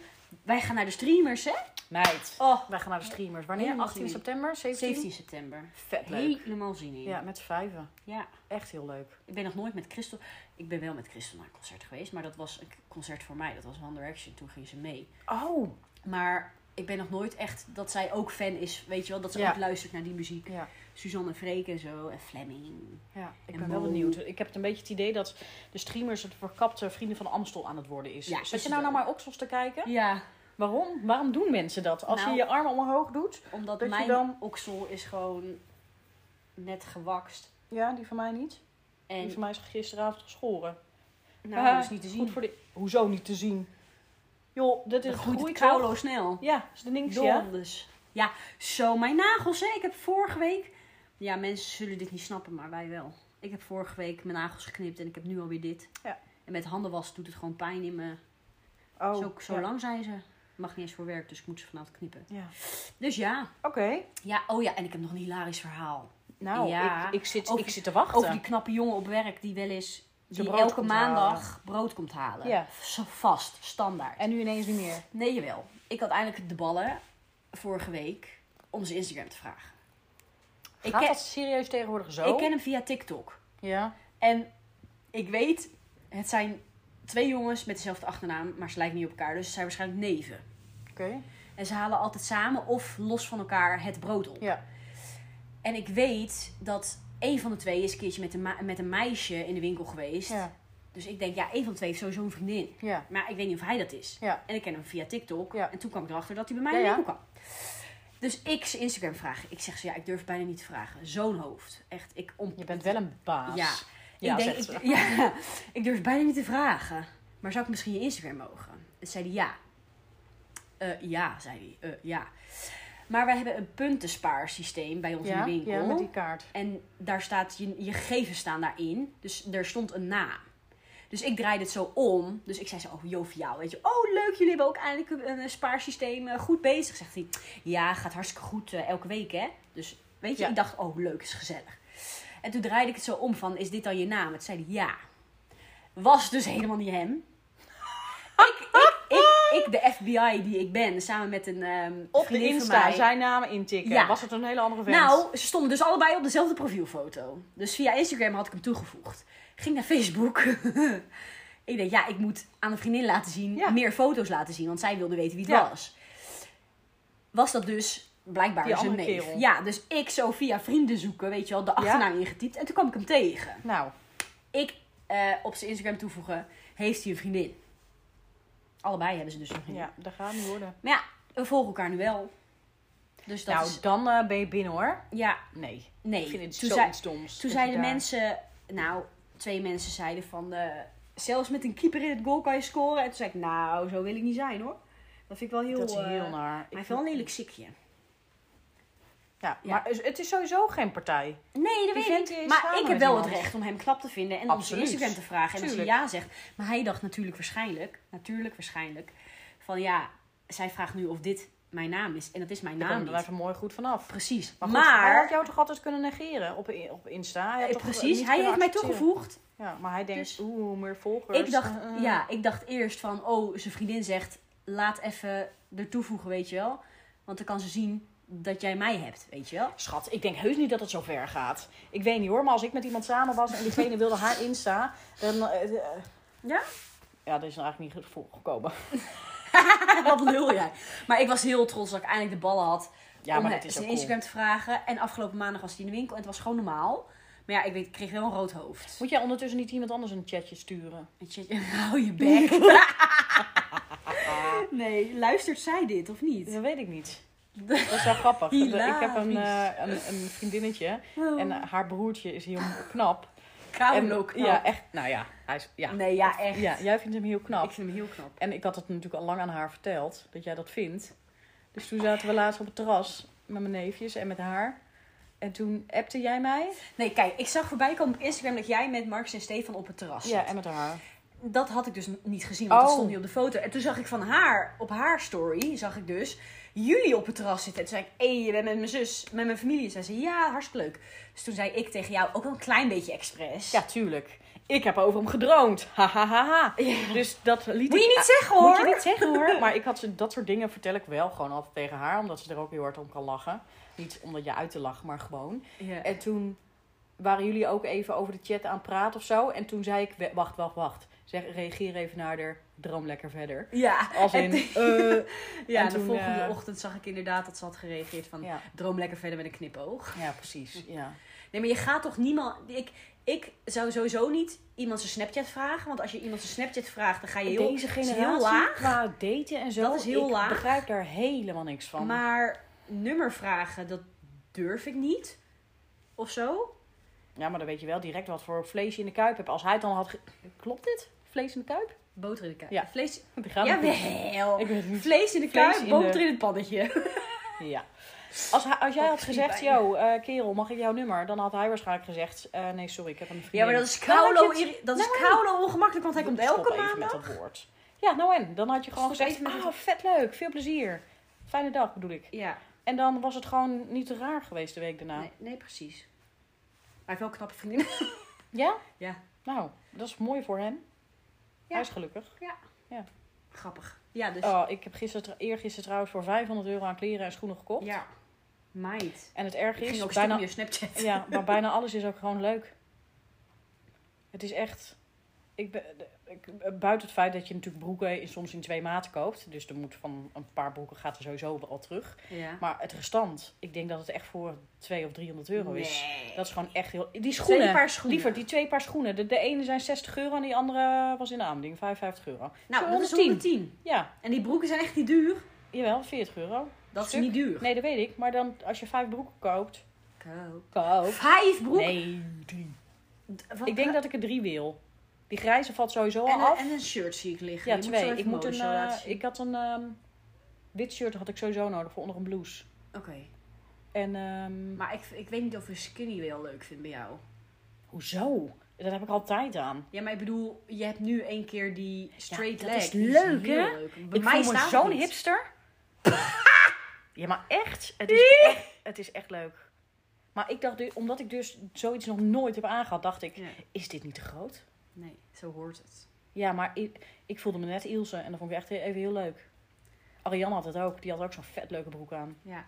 B: Wij gaan naar de streamers, hè?
A: Meid.
B: Oh,
A: Wij gaan naar de streamers. Wanneer?
B: Helemaal
A: 18
B: zin.
A: september? 17?
B: 17 september.
A: Vet leuk.
B: Helemaal zin in.
A: Ja, met z'n vijven.
B: ja.
A: Echt heel leuk.
B: Ik ben nog nooit met Christel. Ik ben wel met Christel naar een concert geweest, maar dat was een concert voor mij. Dat was One Direction. Toen ging ze mee.
A: Oh.
B: Maar ik ben nog nooit echt dat zij ook fan is, weet je wel, dat ze
A: Ja.
B: ook luistert naar die muziek.
A: Ja,
B: Suzanne en Freek en zo en Flemming.
A: ja ik
B: En
A: ben wel
B: Mo.
A: benieuwd. Ik heb het een beetje het idee dat de streamers het verkapte vrienden van Amstel aan het worden is.
B: Ja,
A: Zit
B: is
A: je
B: het
A: nou naar
B: wel.
A: mijn oksels te kijken?
B: Ja,
A: Waarom? Waarom doen mensen dat? Als
B: Nou.
A: je je armen omhoog doet.
B: omdat
A: Dat je
B: mijn
A: dan-
B: oksel is gewoon net gewakst.
A: Ja, die van mij niet.
B: En
A: Die van mij is gisteravond geschoren.
B: nou,
A: Ah,
B: dat is niet te zien.
A: Dus- Goed voor de... Hoezo niet te zien? Joh, dat is
B: Dan
A: het
B: groeit het
A: groeit
B: kaulo
A: toch?
B: snel.
A: Ja, is de niks, ja?
B: Donders. dus. Ja, zo mijn nagels, hè. Ik heb vorige week... Ja, mensen zullen dit niet snappen, maar wij wel. Ik heb vorige week mijn nagels geknipt en ik heb nu alweer dit.
A: Ja.
B: En met handen wassen doet het gewoon pijn in me.
A: Oh,
B: zo zo
A: ja.
B: lang zijn ze. Ik mag niet eens voor werk, dus ik moet ze vanavond knippen.
A: Ja.
B: Dus ja.
A: Oké.
B: Ja, oh ja, en ik heb nog een hilarisch verhaal.
A: Nou,
B: Ja.
A: ik, ik, zit,
B: Over-
A: ik zit te wachten.
B: Over die knappe jongen op werk die wel eens...
A: Zijn
B: Die
A: eh? brood
B: elke
A: komt
B: maandag brood komt halen.
A: Ja.
B: Zo Vast, standaard.
A: En nu ineens niet meer.
B: Nee, jawel. Ik had eindelijk de ballen vorige week om zijn Instagram te vragen. Ik
A: Gaat
B: ken,
A: dat serieus tegenwoordig zo?
B: ik ken hem via TikTok.
A: Ja.
B: En ik weet, het zijn twee jongens met dezelfde achternaam, maar ze lijken niet op elkaar. Dus ze zijn waarschijnlijk neven.
A: Oké.
B: En ze halen altijd samen of los van elkaar het brood op.
A: Ja.
B: En ik weet dat één van de twee is een keertje met een, ma- met een meisje in de winkel geweest.
A: Ja.
B: Dus ik denk, ja, één van de twee heeft sowieso een vriendin.
A: Ja.
B: Maar ik weet niet of hij dat is.
A: Ja.
B: En ik ken hem via TikTok.
A: Ja.
B: En toen kwam ik erachter dat hij bij mij
A: Ja,
B: in de
A: ja.
B: winkel kwam. Dus ik zijn Instagram vragen. Ik zeg zo, ja, ik durf het bijna niet te vragen. Zo'n hoofd. Echt, ik om...
A: Je bent wel een baas.
B: Ja.
A: Ja,
B: ik denk,
A: zegt
B: ik, (laughs) ja, ik durf het bijna niet te vragen. Maar zou ik misschien je Instagram mogen? Dus zei hij ja. Eh, ja, zei hij. Eh, ja. Maar wij hebben een puntenspaarsysteem bij ons in
A: Ja,
B: de winkel.
A: ja, met die kaart.
B: En daar staat, je, je gegevens staan daarin. Dus er stond een naam. Dus ik draaide het zo om. Dus ik zei zo, oh joviaal, weet je. Oh leuk, jullie hebben ook eindelijk een, een spaarsysteem eh, goed bezig, zegt hij. Ja, gaat hartstikke goed eh, elke week, hè. Dus weet je,
A: Ja.
B: ik dacht, oh leuk, is gezellig. En toen draaide ik het zo om van, is dit dan je naam? Het zei hij, ja. Was dus helemaal niet hem. ik, ik, ik, ik, de FBI die ik ben, samen met een ehm
A: Op de
B: vriendin van
A: Insta
B: mij.
A: zijn namen intikken.
B: Ja.
A: Was het een hele andere vent?
B: Nou, ze stonden dus allebei op dezelfde profielfoto. Dus via Instagram had ik hem toegevoegd. Ging naar Facebook. (laughs) ik dacht, ja, ik moet aan een vriendin laten zien,
A: Ja.
B: meer foto's laten zien, want zij wilde weten wie het
A: Ja.
B: was. Was dat dus blijkbaar
A: Die
B: zijn neef.
A: andere kerel.
B: Ja, dus ik zo via vrienden zoeken, weet je wel, de achternaam ingetypt. En toen kwam ik hem tegen.
A: Nou,
B: Ik eh, op zijn Instagram toevoegen, heeft hij een vriendin? Allebei hebben ze dus een vriendin.
A: ja, dat gaat niet worden.
B: Maar ja, we volgen elkaar nu wel. Dus dat
A: nou,
B: is,
A: dan eh, ben je binnen hoor.
B: ja,
A: Nee.
B: nee.
A: Ik vind het
B: Toen
A: zoiets
B: zei-
A: doms. dat
B: Toen
A: je
B: zeiden
A: daar-
B: mensen, nou, twee mensen zeiden van, eh, zelfs met een keeper in het goal kan je scoren. En toen zei ik, nou, zo wil ik niet zijn hoor. Dat vind ik wel heel...
A: Dat is
B: eh,
A: heel
B: maar
A: naar.
B: Hij heeft wel een lelijk sikje.
A: Ja,
B: Ja.
A: maar het is sowieso geen partij.
B: Nee, dat
A: Die
B: weet
A: vent
B: ik.
A: is
B: niet. Maar
A: samen
B: ik heb
A: met
B: wel
A: iemand.
B: het recht om hem knap te vinden en
A: Absoluut.
B: om zijn Instagram te vragen. En als hij
A: Tuurlijk.
B: ja zegt. Maar hij dacht natuurlijk waarschijnlijk, natuurlijk waarschijnlijk, van ja, zij vraagt nu of dit mijn naam is. En dat is mijn
A: Daar
B: naam
A: komen we
B: Nou, niet.
A: even mooi goed vanaf.
B: Precies.
A: Maar,
B: Maar,
A: goed, hij had jou toch altijd kunnen negeren op, op Insta? Hij had
B: eh,
A: toch, eh,
B: precies,
A: niet
B: hij
A: kunnen
B: heeft mij
A: accepteren?
B: toegevoegd.
A: Ja, maar hij denkt,
B: Dus-
A: oeh, meer volgers.
B: Ik dacht,
A: eh,
B: ja, ik dacht eerst van, oh, zijn vriendin zegt, laat even er toevoegen, weet je wel. Want dan kan ze zien dat jij mij hebt, weet je wel. (laughs)
A: Schat, ik denk heus niet dat het zo ver gaat. Ik weet niet hoor, maar als ik met iemand samen was en diegene wilde haar Insta, dan... eh, eh,
B: Ja?
A: ja, dat is nou eigenlijk niet goed voorgekomen.
B: Wat lul jij. Maar ik was heel trots dat ik eindelijk de ballen had
A: Ja,
B: om
A: maar het
B: hem
A: Oh, is ook
B: zijn
A: cool.
B: Instagram te vragen. En afgelopen maandag was hij in de winkel en het was gewoon normaal. Maar ja, ik, weet, ik kreeg wel een rood hoofd.
A: Moet jij ondertussen niet iemand anders een chatje sturen?
B: Weet je, (laughs) hou je
A: (laughs)
B: bek. nee, luistert zij dit of niet?
A: Dat weet ik niet. (laughs) Dat is wel grappig.
B: Hilarisch.
A: Ik heb een, eh, een, een vriendinnetje
B: Oh.
A: en eh, haar broertje is heel knap.
B: Kauwel
A: En-
B: ook.
A: Ja, echt. Nou ja, hij is, ja.
B: Nee, ja, echt.
A: ja, jij vindt hem heel knap.
B: Ik vind hem heel knap.
A: En ik had het natuurlijk al lang aan haar verteld, dat jij dat vindt. Dus toen zaten we laatst op het terras met mijn neefjes en met haar. En toen appte jij mij.
B: Nee, kijk, ik zag voorbij komen op Instagram dat jij met Marks en Stefan op het terras zat.
A: met haar.
B: Dat had ik dus n- niet gezien, want dat
A: Oh.
B: stond niet op de foto. En toen zag ik van haar, op haar story, zag ik dus jullie op het terras zitten. En toen zei ik, hé, je bent met mijn zus, met mijn familie. En zei ze, ja, hartstikke leuk. Dus toen zei ik tegen jou, ook wel een klein beetje expres. (laughs)
A: Ja, tuurlijk. Ik heb over hem gedroomd. Ha, ha, ha, ha. Dus dat liet
B: Moet
A: ik...
B: je niet zeggen
A: Ah,
B: hoor.
A: Moet je niet zeggen hoor. Maar ik had ze, dat soort dingen vertel ik wel gewoon altijd tegen haar. Omdat ze er ook heel hard om kan lachen. Niet omdat je uit te lachen, maar gewoon.
B: Ja.
A: En toen waren jullie ook even over de chat aan het praten of zo. En toen zei ik, "We- wacht, wacht, wacht. Zeg, reageer even naar de droom lekker verder.
B: Ja,
A: Als
B: En
A: in,
B: toen-
A: eh,
B: (laughs) ja
A: en
B: de
A: toen,
B: volgende
A: eh,
B: ochtend zag ik inderdaad dat ze had gereageerd van,
A: (laughs) ja.
B: droom lekker verder met een knipoog.
A: ja, precies. Ja.
B: Nee, maar je gaat toch niemand... Ik, ik zou sowieso niet iemand zijn Snapchat vragen. Want als je iemand zijn Snapchat vraagt, dan ga je heel...
A: Deze
B: heel
A: generatie
B: laag.
A: qua daten en zo.
B: Dat is heel
A: ik
B: laag.
A: begrijp daar helemaal niks van.
B: Maar nummer vragen, dat durf ik niet. Of zo?
A: Ja, maar dan weet je wel direct wat voor vlees je in de kuip hebt. Als hij het dan had... ge- Klopt dit? Vlees in de kuip?
B: Boter in de kuip.
A: Ja.
B: Vlees...
A: Want (laughs) die gaan natuurlijk-
B: Jawel.
A: Ik weet het niet.
B: Vlees in de
A: Vlees
B: kuip,
A: in
B: boter
A: de-
B: in het pannetje.
A: Ja. Als, hij- als jij
B: Oh,
A: had
B: misschien
A: gezegd,
B: bijna.
A: yo, eh, kerel, mag ik jouw nummer? Dan had hij waarschijnlijk gezegd, eh, nee, sorry, ik heb een vriendin.
B: Ja, maar dat is
A: Dan had je
B: koulo,
A: het-
B: irri- dat is
A: (laughs) Nou,
B: koulo ongemakkelijk, want hij komt
A: Stop
B: elke
A: even
B: maand.
A: met dat woord. Ja, nou en? Dan had je gewoon
B: Stop
A: gezegd,
B: even met
A: ah,
B: dat-
A: vet leuk, veel plezier. Fijne dag, bedoel ik.
B: Ja,
A: En dan was het gewoon niet te raar geweest de week daarna.
B: nee, nee, precies. Hij heeft wel knappe vriendinnen.
A: Ja?
B: Ja.
A: Nou, dat is mooi voor hem.
B: Ja.
A: Hij is gelukkig.
B: (laughs) Grappig. Ja, dus...
A: Oh, ik heb gisteren, eergisteren trouwens voor 500 euro aan kleren en schoenen gekocht.
B: Ja. Meid.
A: En het erg
B: Ik ging
A: is,
B: ook
A: bijna,
B: bijna... meer Snapchat. (laughs)
A: ja, maar bijna alles is ook gewoon leuk. Het is echt... Ik ben, ik, buiten het feit dat je natuurlijk broeken in- soms in twee maten koopt. Dus er moet van een paar broeken gaat er sowieso al terug.
B: Ja.
A: Maar het restant, ik denk dat het echt voor 200 of 300 euro is.
B: Nee.
A: Dat is gewoon echt heel... Die schoenen,
B: Twee paar schoenen.
A: liever die twee paar schoenen. De, de ene zijn 60 euro en die andere was in de aanbieding 55 euro.
B: Nou, dat is
A: 110.
B: 110.
A: Ja,
B: En die broeken zijn echt niet duur.
A: jawel, 40 euro.
B: Dat
A: Stuk.
B: is niet duur.
A: Nee, dat weet ik. Maar dan als je vijf broeken koopt...
B: Koop.
A: Koop?
B: Vijf broeken.
A: Nee, drie.
B: D- wat-
A: Ik denk dat ik er drie wil. Die grijze valt sowieso al
B: en, een-
A: af.
B: en een shirt zie ik liggen.
A: ja,
B: Je
A: twee.
B: Moet zo
A: ik,
B: even
A: moet een,
B: modus
A: eh,
B: laten zien.
A: ik had een ehm, wit shirt had ik sowieso nodig voor onder een blouse.
B: Oké.
A: En ehm,
B: Maar ik, ik weet niet of je skinny wel leuk vindt bij jou.
A: hoezo? Dat heb ik altijd aan.
B: Ja, maar ik bedoel, je hebt nu één keer die straight
A: dat
B: leg.
A: is
B: Die
A: leuk,
B: heel
A: hè?
B: leuk. Bij
A: Ik
B: mij
A: voel me
B: staat
A: zo'n
B: het niet.
A: hipster. ja, maar echt. Het is echt, het is echt leuk. Maar ik dacht, dus- omdat ik dus zoiets nog nooit heb aangehad, dacht ik,
B: Ja.
A: is dit niet te groot?
B: Nee, zo hoort het.
A: Ja, maar ik, ik voelde me net Ilse en dat vond ik echt even heel leuk. Ariane had het ook. Die had ook zo'n vet leuke broek aan.
B: Ja.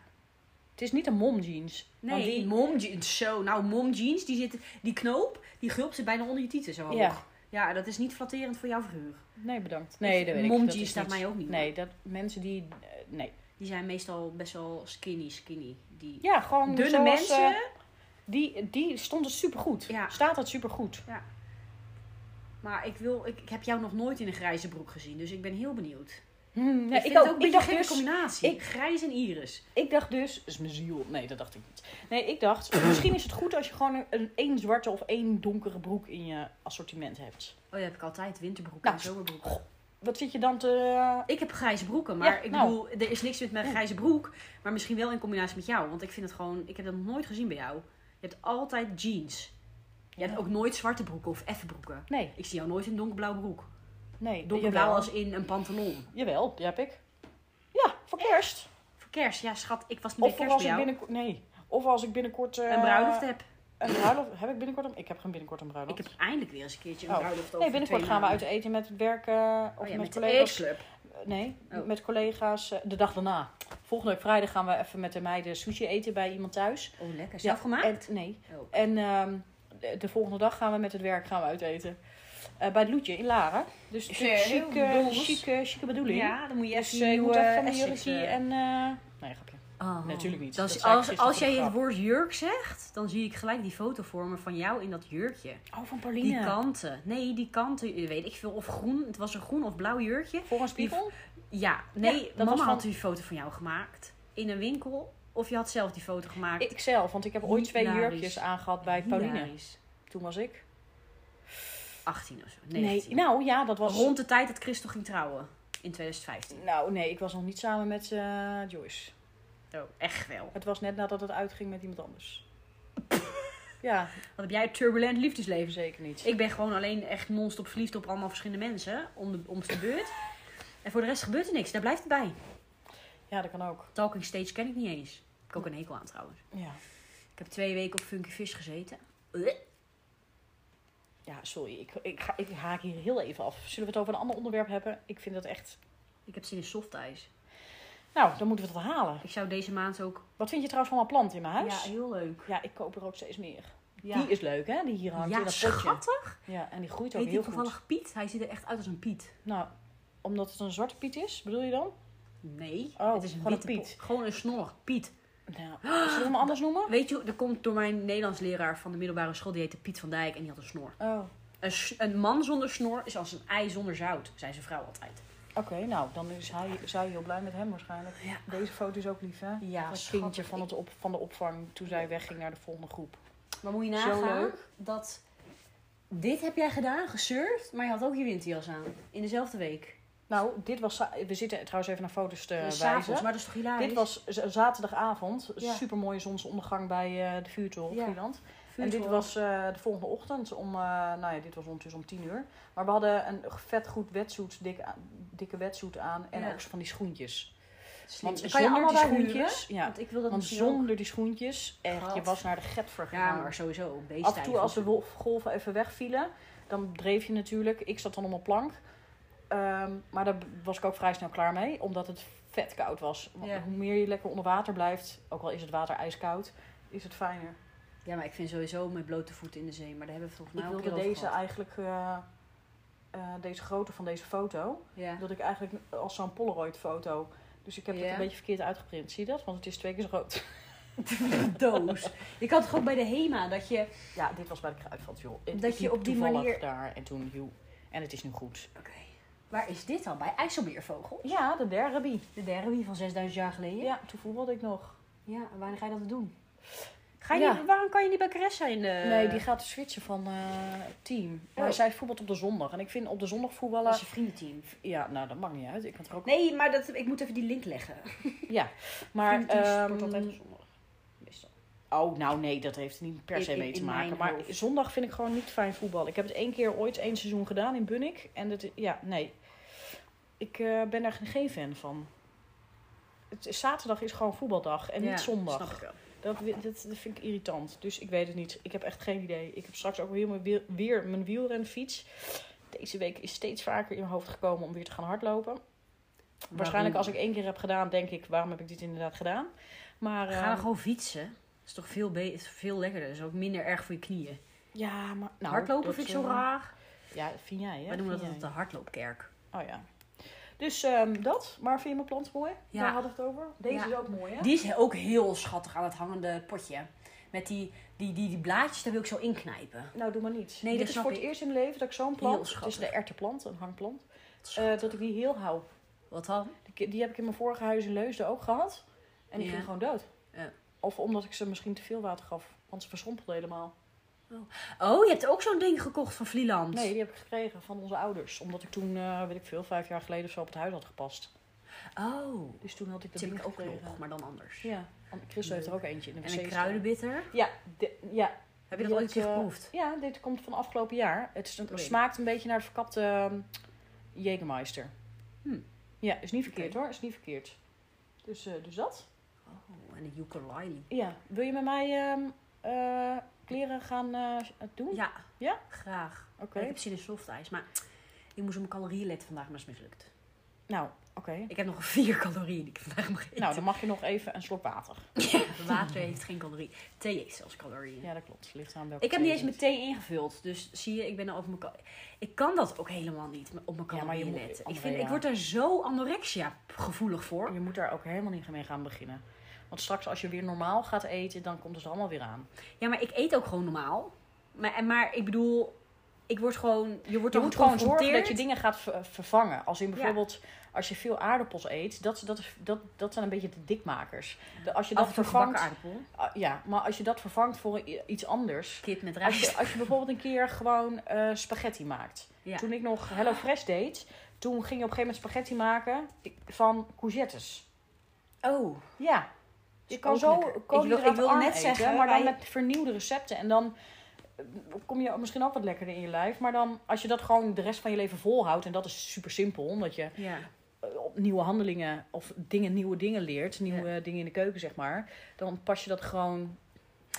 A: Het is niet een momjeans.
B: Nee, die mom jeans. Zo, nou mom jeans, die, zit, die knoop, die gulp zit bijna onder je tieten zo hoog.
A: Ja.
B: Ja. dat is niet flatterend voor jouw figuur.
A: Nee, bedankt. Nee, dat weet ik.
B: Mom
A: dat
B: jeans
A: is
B: staat
A: niet-
B: mij ook niet,
A: Nee, dat mensen die... eh, nee.
B: Die zijn meestal best wel skinny, skinny. Die
A: Ja, gewoon
B: dunne
A: zoals,
B: mensen.
A: eh, die, die stond het supergoed.
B: Ja.
A: Staat het supergoed.
B: Maar ik, wil, ik, ik heb jou nog nooit in een grijze broek gezien, dus ik ben heel benieuwd.
A: Hm, nee,
B: ik vind
A: ook-
B: het ook een beetje
A: dacht
B: een gekke
A: dus-
B: combinatie.
A: ik-
B: Grijs en iris.
A: Ik dacht dus, dat is mijn ziel. Nee, dat dacht ik niet. Nee, ik dacht, (clears throat) misschien is het goed als je gewoon een- een één zwarte of één donkere broek in je assortiment hebt.
B: Oh, ja, heb ik altijd. Winterbroeken
A: Nou,
B: en zomerbroeken.
A: Wat vind je dan te... eh,
B: Ik heb grijze broeken, maar
A: Ja,
B: ik
A: nou.
B: bedoel, er is niks met mijn grijze broek. Maar misschien wel in combinatie met jou. Want ik vind het gewoon, ik heb dat nog nooit gezien bij jou. Je hebt altijd jeans. Je hebt ook nooit zwarte broeken of effen broeken.
A: Nee,
B: Ik zie jou nooit in donkerblauw broek.
A: nee.
B: Donkerblauw
A: jawel.
B: als in een pantalon.
A: Jawel, die heb ik. Ja, voor kerst.
B: Voor kerst, ja schat, ik was niet
A: Of
B: bij
A: voor
B: kerst bij
A: als ik
B: jou.
A: binnenkort... Nee. Of als ik binnenkort... eh,
B: Een bruiloft heb.
A: Een bruiloft. Heb ik binnenkort een... Ik heb geen binnenkort een bruiloft.
B: Ik heb eindelijk weer eens een keertje een
A: Oh.
B: bruiloft over
A: Nee, binnenkort
B: twee
A: gaan we uit
B: maanden.
A: eten met het werk eh, of
B: Oh ja,
A: met,
B: met de
A: collega's.
B: Club.
A: Nee,
B: Oh.
A: met collega's eh, de dag daarna. Volgende week vrijdag gaan we even met de meiden sushi eten bij iemand thuis.
B: Oh, lekker.
A: Ja,
B: Zelfgemaakt?
A: En, nee.
B: Oh.
A: En ehm, de, de volgende dag gaan we met het werk gaan we uit eten. Eh, bij het Loetje in Laren. Dus een
B: Heel
A: chique,
B: bedoels.
A: chique, chique bedoeling.
B: Ja, dan moet je
A: Dus
B: even
A: eh, ik moet
B: nieuwe
A: even van de
B: Essex,
A: jurkje
B: eh,
A: en... eh, nee, grapje.
B: Oh.
A: Natuurlijk niet.
B: Dan
A: Dat
B: zie-
A: zei ik
B: als,
A: gisteren
B: als
A: voor
B: jij
A: de
B: het
A: grap.
B: woord jurk zegt, dan zie ik gelijk die foto voor me van jou in dat jurkje.
A: Oh, van
B: Die
A: Pauline.
B: kanten. Nee, die kanten, eh, weet ik veel. Of groen. Het was een groen of blauw jurkje.
A: Voor een spiegel?
B: Ja, nee,
A: dat
B: mama
A: was van-
B: had die foto van jou gemaakt. In een winkel. Of je had zelf die foto gemaakt.
A: Ik zelf, want ik heb ooit twee
B: Hilarisch.
A: jurkjes aangehad bij Pauline.
B: Hilarisch.
A: Toen was ik...
B: 18 of zo.
A: Nee,
B: 19.
A: nou ja, dat was...
B: Rond de tijd dat Christel ging trouwen. In 2015.
A: Nou, nee, ik was nog niet samen met eh, Joyce.
B: Oh, echt wel.
A: Het was net nadat het uitging met iemand
B: (laughs)
A: anders. ja,
B: Wat heb jij een turbulent liefdesleven?
A: zeker niet.
B: Ik ben gewoon alleen echt non-stop verliefd op allemaal verschillende mensen. Om de, om de beurt. En voor de rest gebeurt er niks. Daar blijft het bij.
A: Ja, dat kan ook.
B: Talking stage ken ik niet eens. Heb ik ook een hekel aan trouwens.
A: Ja,
B: Ik heb twee weken op Funky Fish gezeten.
A: ja sorry. Ik, ik, ga, ik haak hier heel even af. Zullen we het over een ander onderwerp hebben? Ik vind dat echt...
B: Ik heb zin in softijs.
A: Nou, dan moeten we het halen.
B: Ik zou deze maand ook...
A: Wat vind je trouwens van mijn plant in mijn huis?
B: Ja,
A: Ja,
B: heel leuk.
A: ik koop er ook steeds meer.
B: Ja,
A: Die is leuk, hè? Die hier hangt in
B: ja
A: dat potje.
B: schattig.
A: Ja, en die groeit ook
B: Heet die
A: heel goed.
B: toevallig Piet? Hij ziet er echt uit als een Piet.
A: Nou, omdat het een zwarte piet is, bedoel je dan?
B: Nee,
A: Oh,
B: het is een
A: gewoon een
B: witte
A: Piet.
B: po- Gewoon een snorrig Piet.
A: Nou, zullen
B: (gasps)
A: we hem anders noemen?
B: Weet je, dat komt door mijn Nederlands leraar van de middelbare school. Die heette Piet van Dijk en die had een snor.
A: Oh,
B: Een, s- een man zonder snor is als een ei zonder zout, zei zijn vrouw altijd.
A: oké. nou, dan is hij, is hij heel blij met hem waarschijnlijk.
B: Ja.
A: Deze foto is ook lief, hè?
B: Ja,
A: Als
B: schattig.
A: kindje van, het op, van de opvang toen zij wegging naar de volgende groep.
B: Maar moet je
A: Zo
B: nagaan
A: leuk.
B: dat... Dit heb jij gedaan, gesurfd, maar je had ook je winterjas aan. In dezelfde week.
A: Nou, dit was. za- We zitten trouwens even naar foto's te
B: Dus
A: wijzen.
B: s'avonds, maar dat is toch hilarisch?
A: Dit was z- zaterdagavond.
B: Ja.
A: Super mooie zonsondergang bij eh, de vuurtol op
B: Ja.
A: Vlieland. En
B: Vuurtol.
A: dit was eh, de volgende ochtend om. eh, nou ja, dit was ondertussen om tien uur. Maar we hadden een vet goed wetsuit, dikke, a- dikke wetsuit aan. En
B: Ja.
A: ook van die schoentjes.
B: Slim.
A: Want
B: Kan je
A: zonder
B: allemaal
A: die
B: daar huren?
A: schoentjes. Ja,
B: Want ik wil dat
A: want
B: misschien ook.
A: zonder die schoentjes. Echt, je
B: Gad.
A: was naar de getver
B: Ja,
A: gegaan.
B: maar sowieso. Beesttijd.
A: Af en toe als de wolf- golven even wegvielen, dan dreef je natuurlijk. Ik zat dan op mijn plank. Ehm, maar daar was ik ook vrij snel klaar mee, omdat het vet koud was. Want
B: Ja.
A: Hoe meer je lekker onder water blijft, ook al is het water ijskoud, is het fijner.
B: Ja, maar ik vind sowieso met blote voeten in de zee. Maar daar hebben we het volgens
A: ik
B: mij ook
A: wilde
B: een keer
A: deze
B: over
A: eigenlijk, eh, eh, deze grootte van deze foto,
B: gehad. Ja.
A: dat ik eigenlijk als zo'n Polaroid foto. Dus ik heb het
B: Ja.
A: een beetje verkeerd uitgeprint. Zie je dat? Want het is twee keer zo groot.
B: (laughs) doos. Je kan toch ook bij de HEMA dat je...
A: Ja, dit was bij de kruidvat, joh. Het
B: Dat
A: liep
B: je op die
A: toevallig
B: manier-
A: daar en toen, joh. En het is nu goed.
B: Oké. Waar is dit dan? Bij IJsselmeervogel?
A: Ja, de derby.
B: De derby van 6000 jaar geleden?
A: Ja, toen voetbalde ik nog.
B: Ja, en wanneer ga je dat doen? Ga je
A: Ja.
B: niet- waarom kan je niet bij Caressa in eh, de...
A: nee, die gaat switchen van eh, team. Maar
B: Oh.
A: zij voetbalt op de zondag. En ik vind op de zondag
B: Dat is
A: voetballen...
B: je vriendenteam.
A: Ja, nou, dat maakt niet uit. Ik kan het er ook...
B: Nee, maar dat, ik moet even die link leggen.
A: Ja, maar...
B: Vriendenteam sport
A: ehm,
B: altijd op zondag. Meestal.
A: oh, nou nee, dat heeft er niet per
B: In-
A: se
B: in-
A: mee te
B: in
A: maken.
B: mijn
A: Maar
B: hoofd.
A: zondag vind ik gewoon niet fijn voetbal. Ik heb het één keer ooit één seizoen gedaan in Bunnik. En dat... Ja, nee. Ik eh, ben daar geen fan van. Het, is- zaterdag is gewoon voetbaldag en
B: Ja,
A: niet zondag.
B: Snap ik wel.
A: Dat, wi- dat, dat vind ik irritant. Dus ik weet het niet. Ik heb echt geen idee. Ik heb straks ook weer mijn, wiel- weer mijn wielrenfiets. Deze week is steeds vaker in mijn hoofd gekomen om weer te gaan hardlopen. Waarschijnlijk als ik één keer heb gedaan, denk ik, waarom heb ik dit inderdaad gedaan? Maar,
B: Ga dan
A: ehm,
B: gewoon fietsen. Is toch veel, be- is veel lekkerder. Is ook minder erg voor je knieën.
A: ja, maar, nou,
B: hardlopen
A: dat,
B: vind ik zo
A: eh,
B: raar.
A: Ja, vind jij, hè?
B: Wij noemen dat
A: Vind
B: altijd de
A: jij.
B: hardloopkerk.
A: Oh ja. Dus ehm, dat, maar vind je mijn plant mooi?
B: Ja.
A: Daar hadden we het over. Deze
B: Ja.
A: is ook mooi, hè?
B: Die is ook heel schattig aan het hangende potje. Met die, die, die, die blaadjes, daar wil ik zo inknijpen.
A: Nou, doe maar niet.
B: Nee,
A: Dit
B: dat
A: is
B: snap
A: voor
B: ik.
A: het eerst in mijn leven dat ik zo'n
B: Heel
A: plant, het is
B: schattig.
A: de erteplant, een hangplant, eh,
B: Schat.
A: dat ik die heel hou.
B: Wat dan?
A: Die, die heb ik in mijn vorige huis in Leusden ook gehad. En die
B: Ja.
A: ging gewoon dood.
B: Ja.
A: Of omdat ik ze misschien te veel water gaf. Want ze verschrompelde helemaal.
B: Oh, je hebt ook zo'n ding gekocht van Vlieland.
A: Nee, die heb ik gekregen van onze ouders. Omdat ik toen, eh, weet ik veel, vijf jaar geleden of zo op het huis had gepast.
B: Oh,
A: Dus toen had ik dat
B: dat heb
A: ding
B: ik ook
A: gekregen.
B: nog, maar dan anders.
A: Ja, want Christel heeft er ook eentje in de
B: En een
A: wc
B: kruidenbitter.
A: staan. Ja, de- ja,
B: Heb je
A: Je
B: dat ooit een keer
A: hebt, eh,
B: geproefd?
A: ja, dit komt van afgelopen jaar. Het is een-
B: Oké.
A: smaakt een beetje naar de verkapte ehm, Jägermeister.
B: Hm.
A: Ja, is niet verkeerd
B: Oké.
A: hoor, is niet verkeerd. Dus, eh, dus dat.
B: Oh, en een ukulele.
A: Ja, wil je met mij ehm, eh, kleren gaan eh, doen?
B: Ja,
A: Ja?
B: graag.
A: Oké.
B: Ik heb zin in softijs, maar ik moest op mijn calorieën letten vandaag, maar dat is mislukt.
A: Nou, oké.
B: Ik heb nog (laughs) vier calorieën die ik vandaag mag eten.
A: Nou, dan mag je nog even een slok water.
B: Water heeft geen calorieën. Thee heeft zelfs calorieën.
A: Ja, dat klopt. Ligt eraan welke
B: Ik heb niet
A: thee
B: eens
A: je
B: mijn thee ingevuld, dus zie je, ik ben er over mijn... cal- Ik kan dat ook helemaal niet, op mijn
A: Ja, maar je
B: calorieën
A: moet-
B: letten. Ik,
A: Andrea.
B: vind, ik word daar zo anorexia gevoelig voor.
A: doet. Je moet daar ook helemaal niet mee gaan beginnen. Want straks als je weer normaal gaat eten, dan komt het er allemaal weer aan.
B: Ja, maar ik eet ook gewoon normaal. Maar, en- maar ik bedoel, ik word gewoon. Je wordt
A: Je
B: dan
A: moet gewoon zorgen
B: geconfronteerd.
A: dat je dingen gaat ver- vervangen. Als in bijvoorbeeld, als je veel aardappels eet, dat, dat, is- dat, dat zijn een beetje de dikmakers. De- als je
B: Af
A: dat
B: en toe
A: vervangt,
B: gebakken aardappel.
A: ah, ja, maar als je dat vervangt voor i- iets anders.
B: Kip met
A: Als
B: rijst.
A: je, als je bijvoorbeeld een keer gewoon eh, spaghetti maakt.
B: Ja.
A: Toen ik nog Hello Fresh deed, toen ging je op een gegeven moment spaghetti maken ik- van courgettes.
B: Oh,
A: Ja. Je
B: Is
A: kan
B: ook
A: zo
B: lekker. Ik wil-
A: koolhydraatarm
B: ik wilde net
A: eten,
B: zeggen,
A: maar dan
B: wij-
A: met vernieuwde recepten. En dan eh, kom je misschien ook wat lekkerder in je lijf. Maar dan, als je dat gewoon de rest van je leven volhoudt... en dat is super simpel, omdat je
B: ja.
A: eh, op nieuwe handelingen... of dingen, nieuwe dingen leert, nieuwe dingen in de keuken, zeg maar... dan pas je dat gewoon...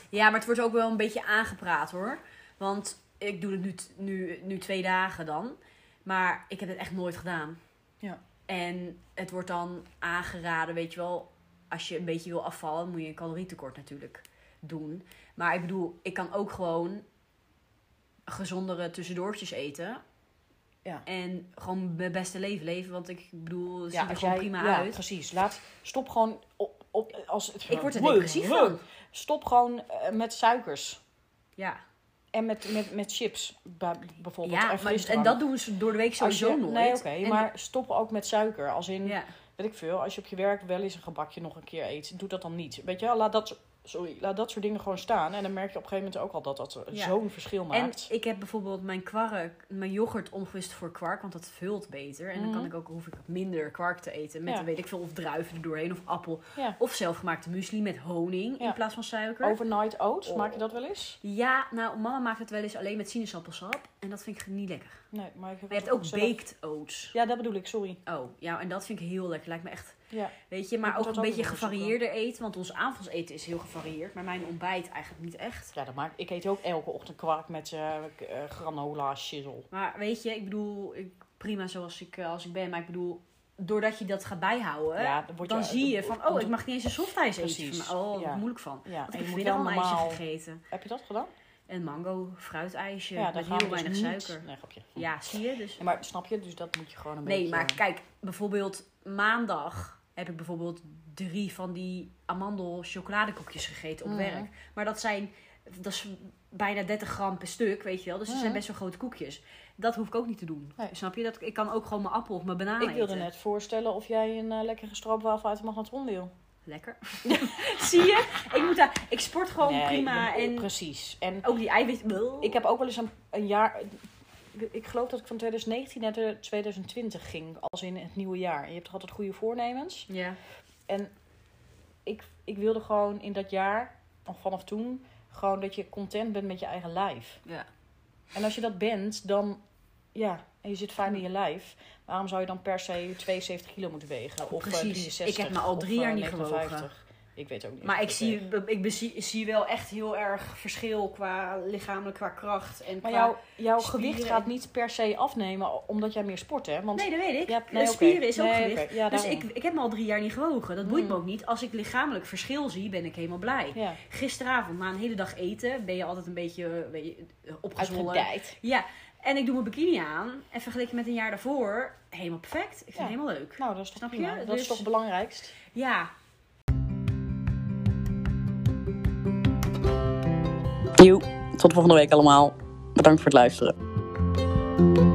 B: Ja, maar het wordt ook wel een beetje aangepraat hoor. Want ik doe het nu, t- nu, nu twee dagen dan. Maar ik heb het echt nooit gedaan.
A: Ja.
B: En het wordt dan aangeraden, weet je wel. Als je een beetje wil afvallen, moet je een calorietekort natuurlijk doen. Maar ik bedoel, ik kan ook gewoon gezondere tussendoortjes eten.
A: Ja.
B: En gewoon mijn beste leven leven. Want ik bedoel, het ziet er
A: als
B: gewoon
A: jij-
B: prima
A: ja,
B: uit.
A: precies. Laat, stop gewoon op... op als het,
B: Ik word er depressief van.
A: Stop gewoon eh, met suikers.
B: Ja,
A: En met, met, met chips, bij- bijvoorbeeld.
B: ja
A: en,
B: maar, en
A: frisdrank.
B: dat doen ze door de week
A: Als
B: sowieso
A: je-
B: nooit.
A: Nee, oké,
B: En-
A: maar stop ook met suiker. Als in,
B: Ja.
A: weet ik veel, als je op je werk wel eens een gebakje nog een keer eet, doe dat dan niet. Weet je wel, laat dat, sorry, laat dat soort dingen gewoon staan. En dan merk je op een gegeven moment ook al dat dat
B: Ja.
A: zo'n verschil maakt.
B: En ik heb bijvoorbeeld mijn kwark, mijn yoghurt omgewist voor kwark, want dat vult beter. En dan kan
A: Mhm.
B: ik ook, hoef ik minder kwark te eten. Met,
A: Ja.
B: weet ik veel, of druiven er doorheen, of appel.
A: ja.
B: Of zelfgemaakte muesli met honing
A: Ja.
B: in plaats van suiker.
A: Overnight oats,
B: Oh.
A: maak je dat wel eens?
B: Ja, nou, mama maakt het wel eens alleen met sinaasappelsap. En dat vind ik niet lekker. Maar
A: Nee, maar ik heb
B: je hebt
A: het
B: ook
A: zelf-
B: baked oats.
A: Ja, dat bedoel ik, sorry.
B: Oh, ja, en dat vind ik heel lekker. Lijkt me echt,
A: Ja.
B: weet je,
A: Ik
B: maar
A: moet
B: ook
A: dat
B: een
A: ook
B: beetje
A: nog eens zoeken.
B: gevarieerder eten. Want ons avondseten is heel gevarieerd, maar mijn ontbijt eigenlijk niet echt.
A: Ja, dat maakt, ik eet ook elke ochtend kwark met eh, k- eh, granola, shizzle.
B: Maar weet je, ik bedoel, ik, prima zoals ik, eh, als ik ben. Maar ik bedoel, doordat je dat gaat bijhouden,
A: Ja, dan word je-
B: zie je van,
A: komt
B: oh,
A: het-
B: ik mag niet eens een softijs eten.
A: Precies,
B: Van, oh,
A: ja.
B: wat moeilijk van.
A: Ja,
B: Want
A: en
B: ik
A: je
B: heb
A: moet wel
B: wel een ijsje
A: normaal...
B: gegeten.
A: Heb je dat gedaan?
B: En mango, fruitijsje,
A: ja,
B: met
A: gaan we
B: heel
A: dus
B: weinig
A: niet-
B: suiker.
A: Nee, grapje.
B: Ja, zie je? Dus...
A: Ja, Maar snap je? Dus dat moet je gewoon een
B: Nee,
A: beetje...
B: maar kijk, bijvoorbeeld maandag heb ik bijvoorbeeld drie van die amandel chocoladekoekjes gegeten op
A: Mhm.
B: werk. Maar dat zijn, dat is bijna 30 gram per stuk, weet je wel. Dus dat zijn
A: Mhm.
B: best wel grote koekjes. Dat hoef ik ook niet te doen.
A: Nee.
B: Snap je? Dat, ik kan ook gewoon mijn appel of mijn banaan
A: Ik wilde
B: eten.
A: net voorstellen of jij een eh, lekkere stroopwafel uit de magnetron wil.
B: Lekker. (laughs) zie je? Ik, moet daar, ik sport gewoon
A: Nee,
B: prima.
A: ik-
B: En Oh.
A: Precies. En
B: ook die eiwitten.
A: ik heb ook wel eens een, een jaar... ik- Ik geloof dat ik van 2019 naar de 2020 ging, als in het nieuwe jaar. En je hebt toch altijd goede voornemens?
B: Ja.
A: En ik, ik wilde gewoon in dat jaar, of vanaf toen, gewoon dat je content bent met je eigen lijf.
B: Ja.
A: En als je dat bent, dan... Ja, en je zit fijn in je lijf. Waarom zou je dan per se 72 kilo moeten wegen? Of eh,
B: Precies.
A: 63?
B: Ik heb me al drie
A: of, eh,
B: jaar niet
A: 59?
B: gewogen.
A: Ik weet ook niet.
B: Maar ik,
A: Oké.
B: zie, ik bezie- zie wel echt heel erg verschil qua lichamelijk, qua kracht en
A: Maar
B: qua...
A: jouw, jouw
B: spieren
A: gewicht gaat
B: en-
A: niet per se afnemen omdat jij meer sport, hè? Want
B: Nee, dat weet ik.
A: Ja, nee, oké.
B: De spieren is ook
A: Nee,
B: gewicht.
A: oké. Ja,
B: dus
A: daarom.
B: ik, ik heb me al drie jaar niet gewogen. Dat boeit me
A: Hmm.
B: ook niet. Als ik lichamelijk verschil zie, ben ik helemaal blij.
A: ja,
B: Gisteravond, na een hele dag eten, ben je altijd een beetje eh, weet je, eh, opgezwollen.
A: uitgedijt.
B: Ja, en ik doe mijn bikini aan. En vergeleken met een jaar daarvoor, helemaal perfect. Ik vind
A: Ja.
B: het helemaal leuk.
A: Nou, dat is toch
B: Snap je?
A: prima. Dat is
B: Dus-
A: toch het belangrijkst?
B: Ja,
C: Joe, tot volgende week allemaal. Bedankt voor het luisteren.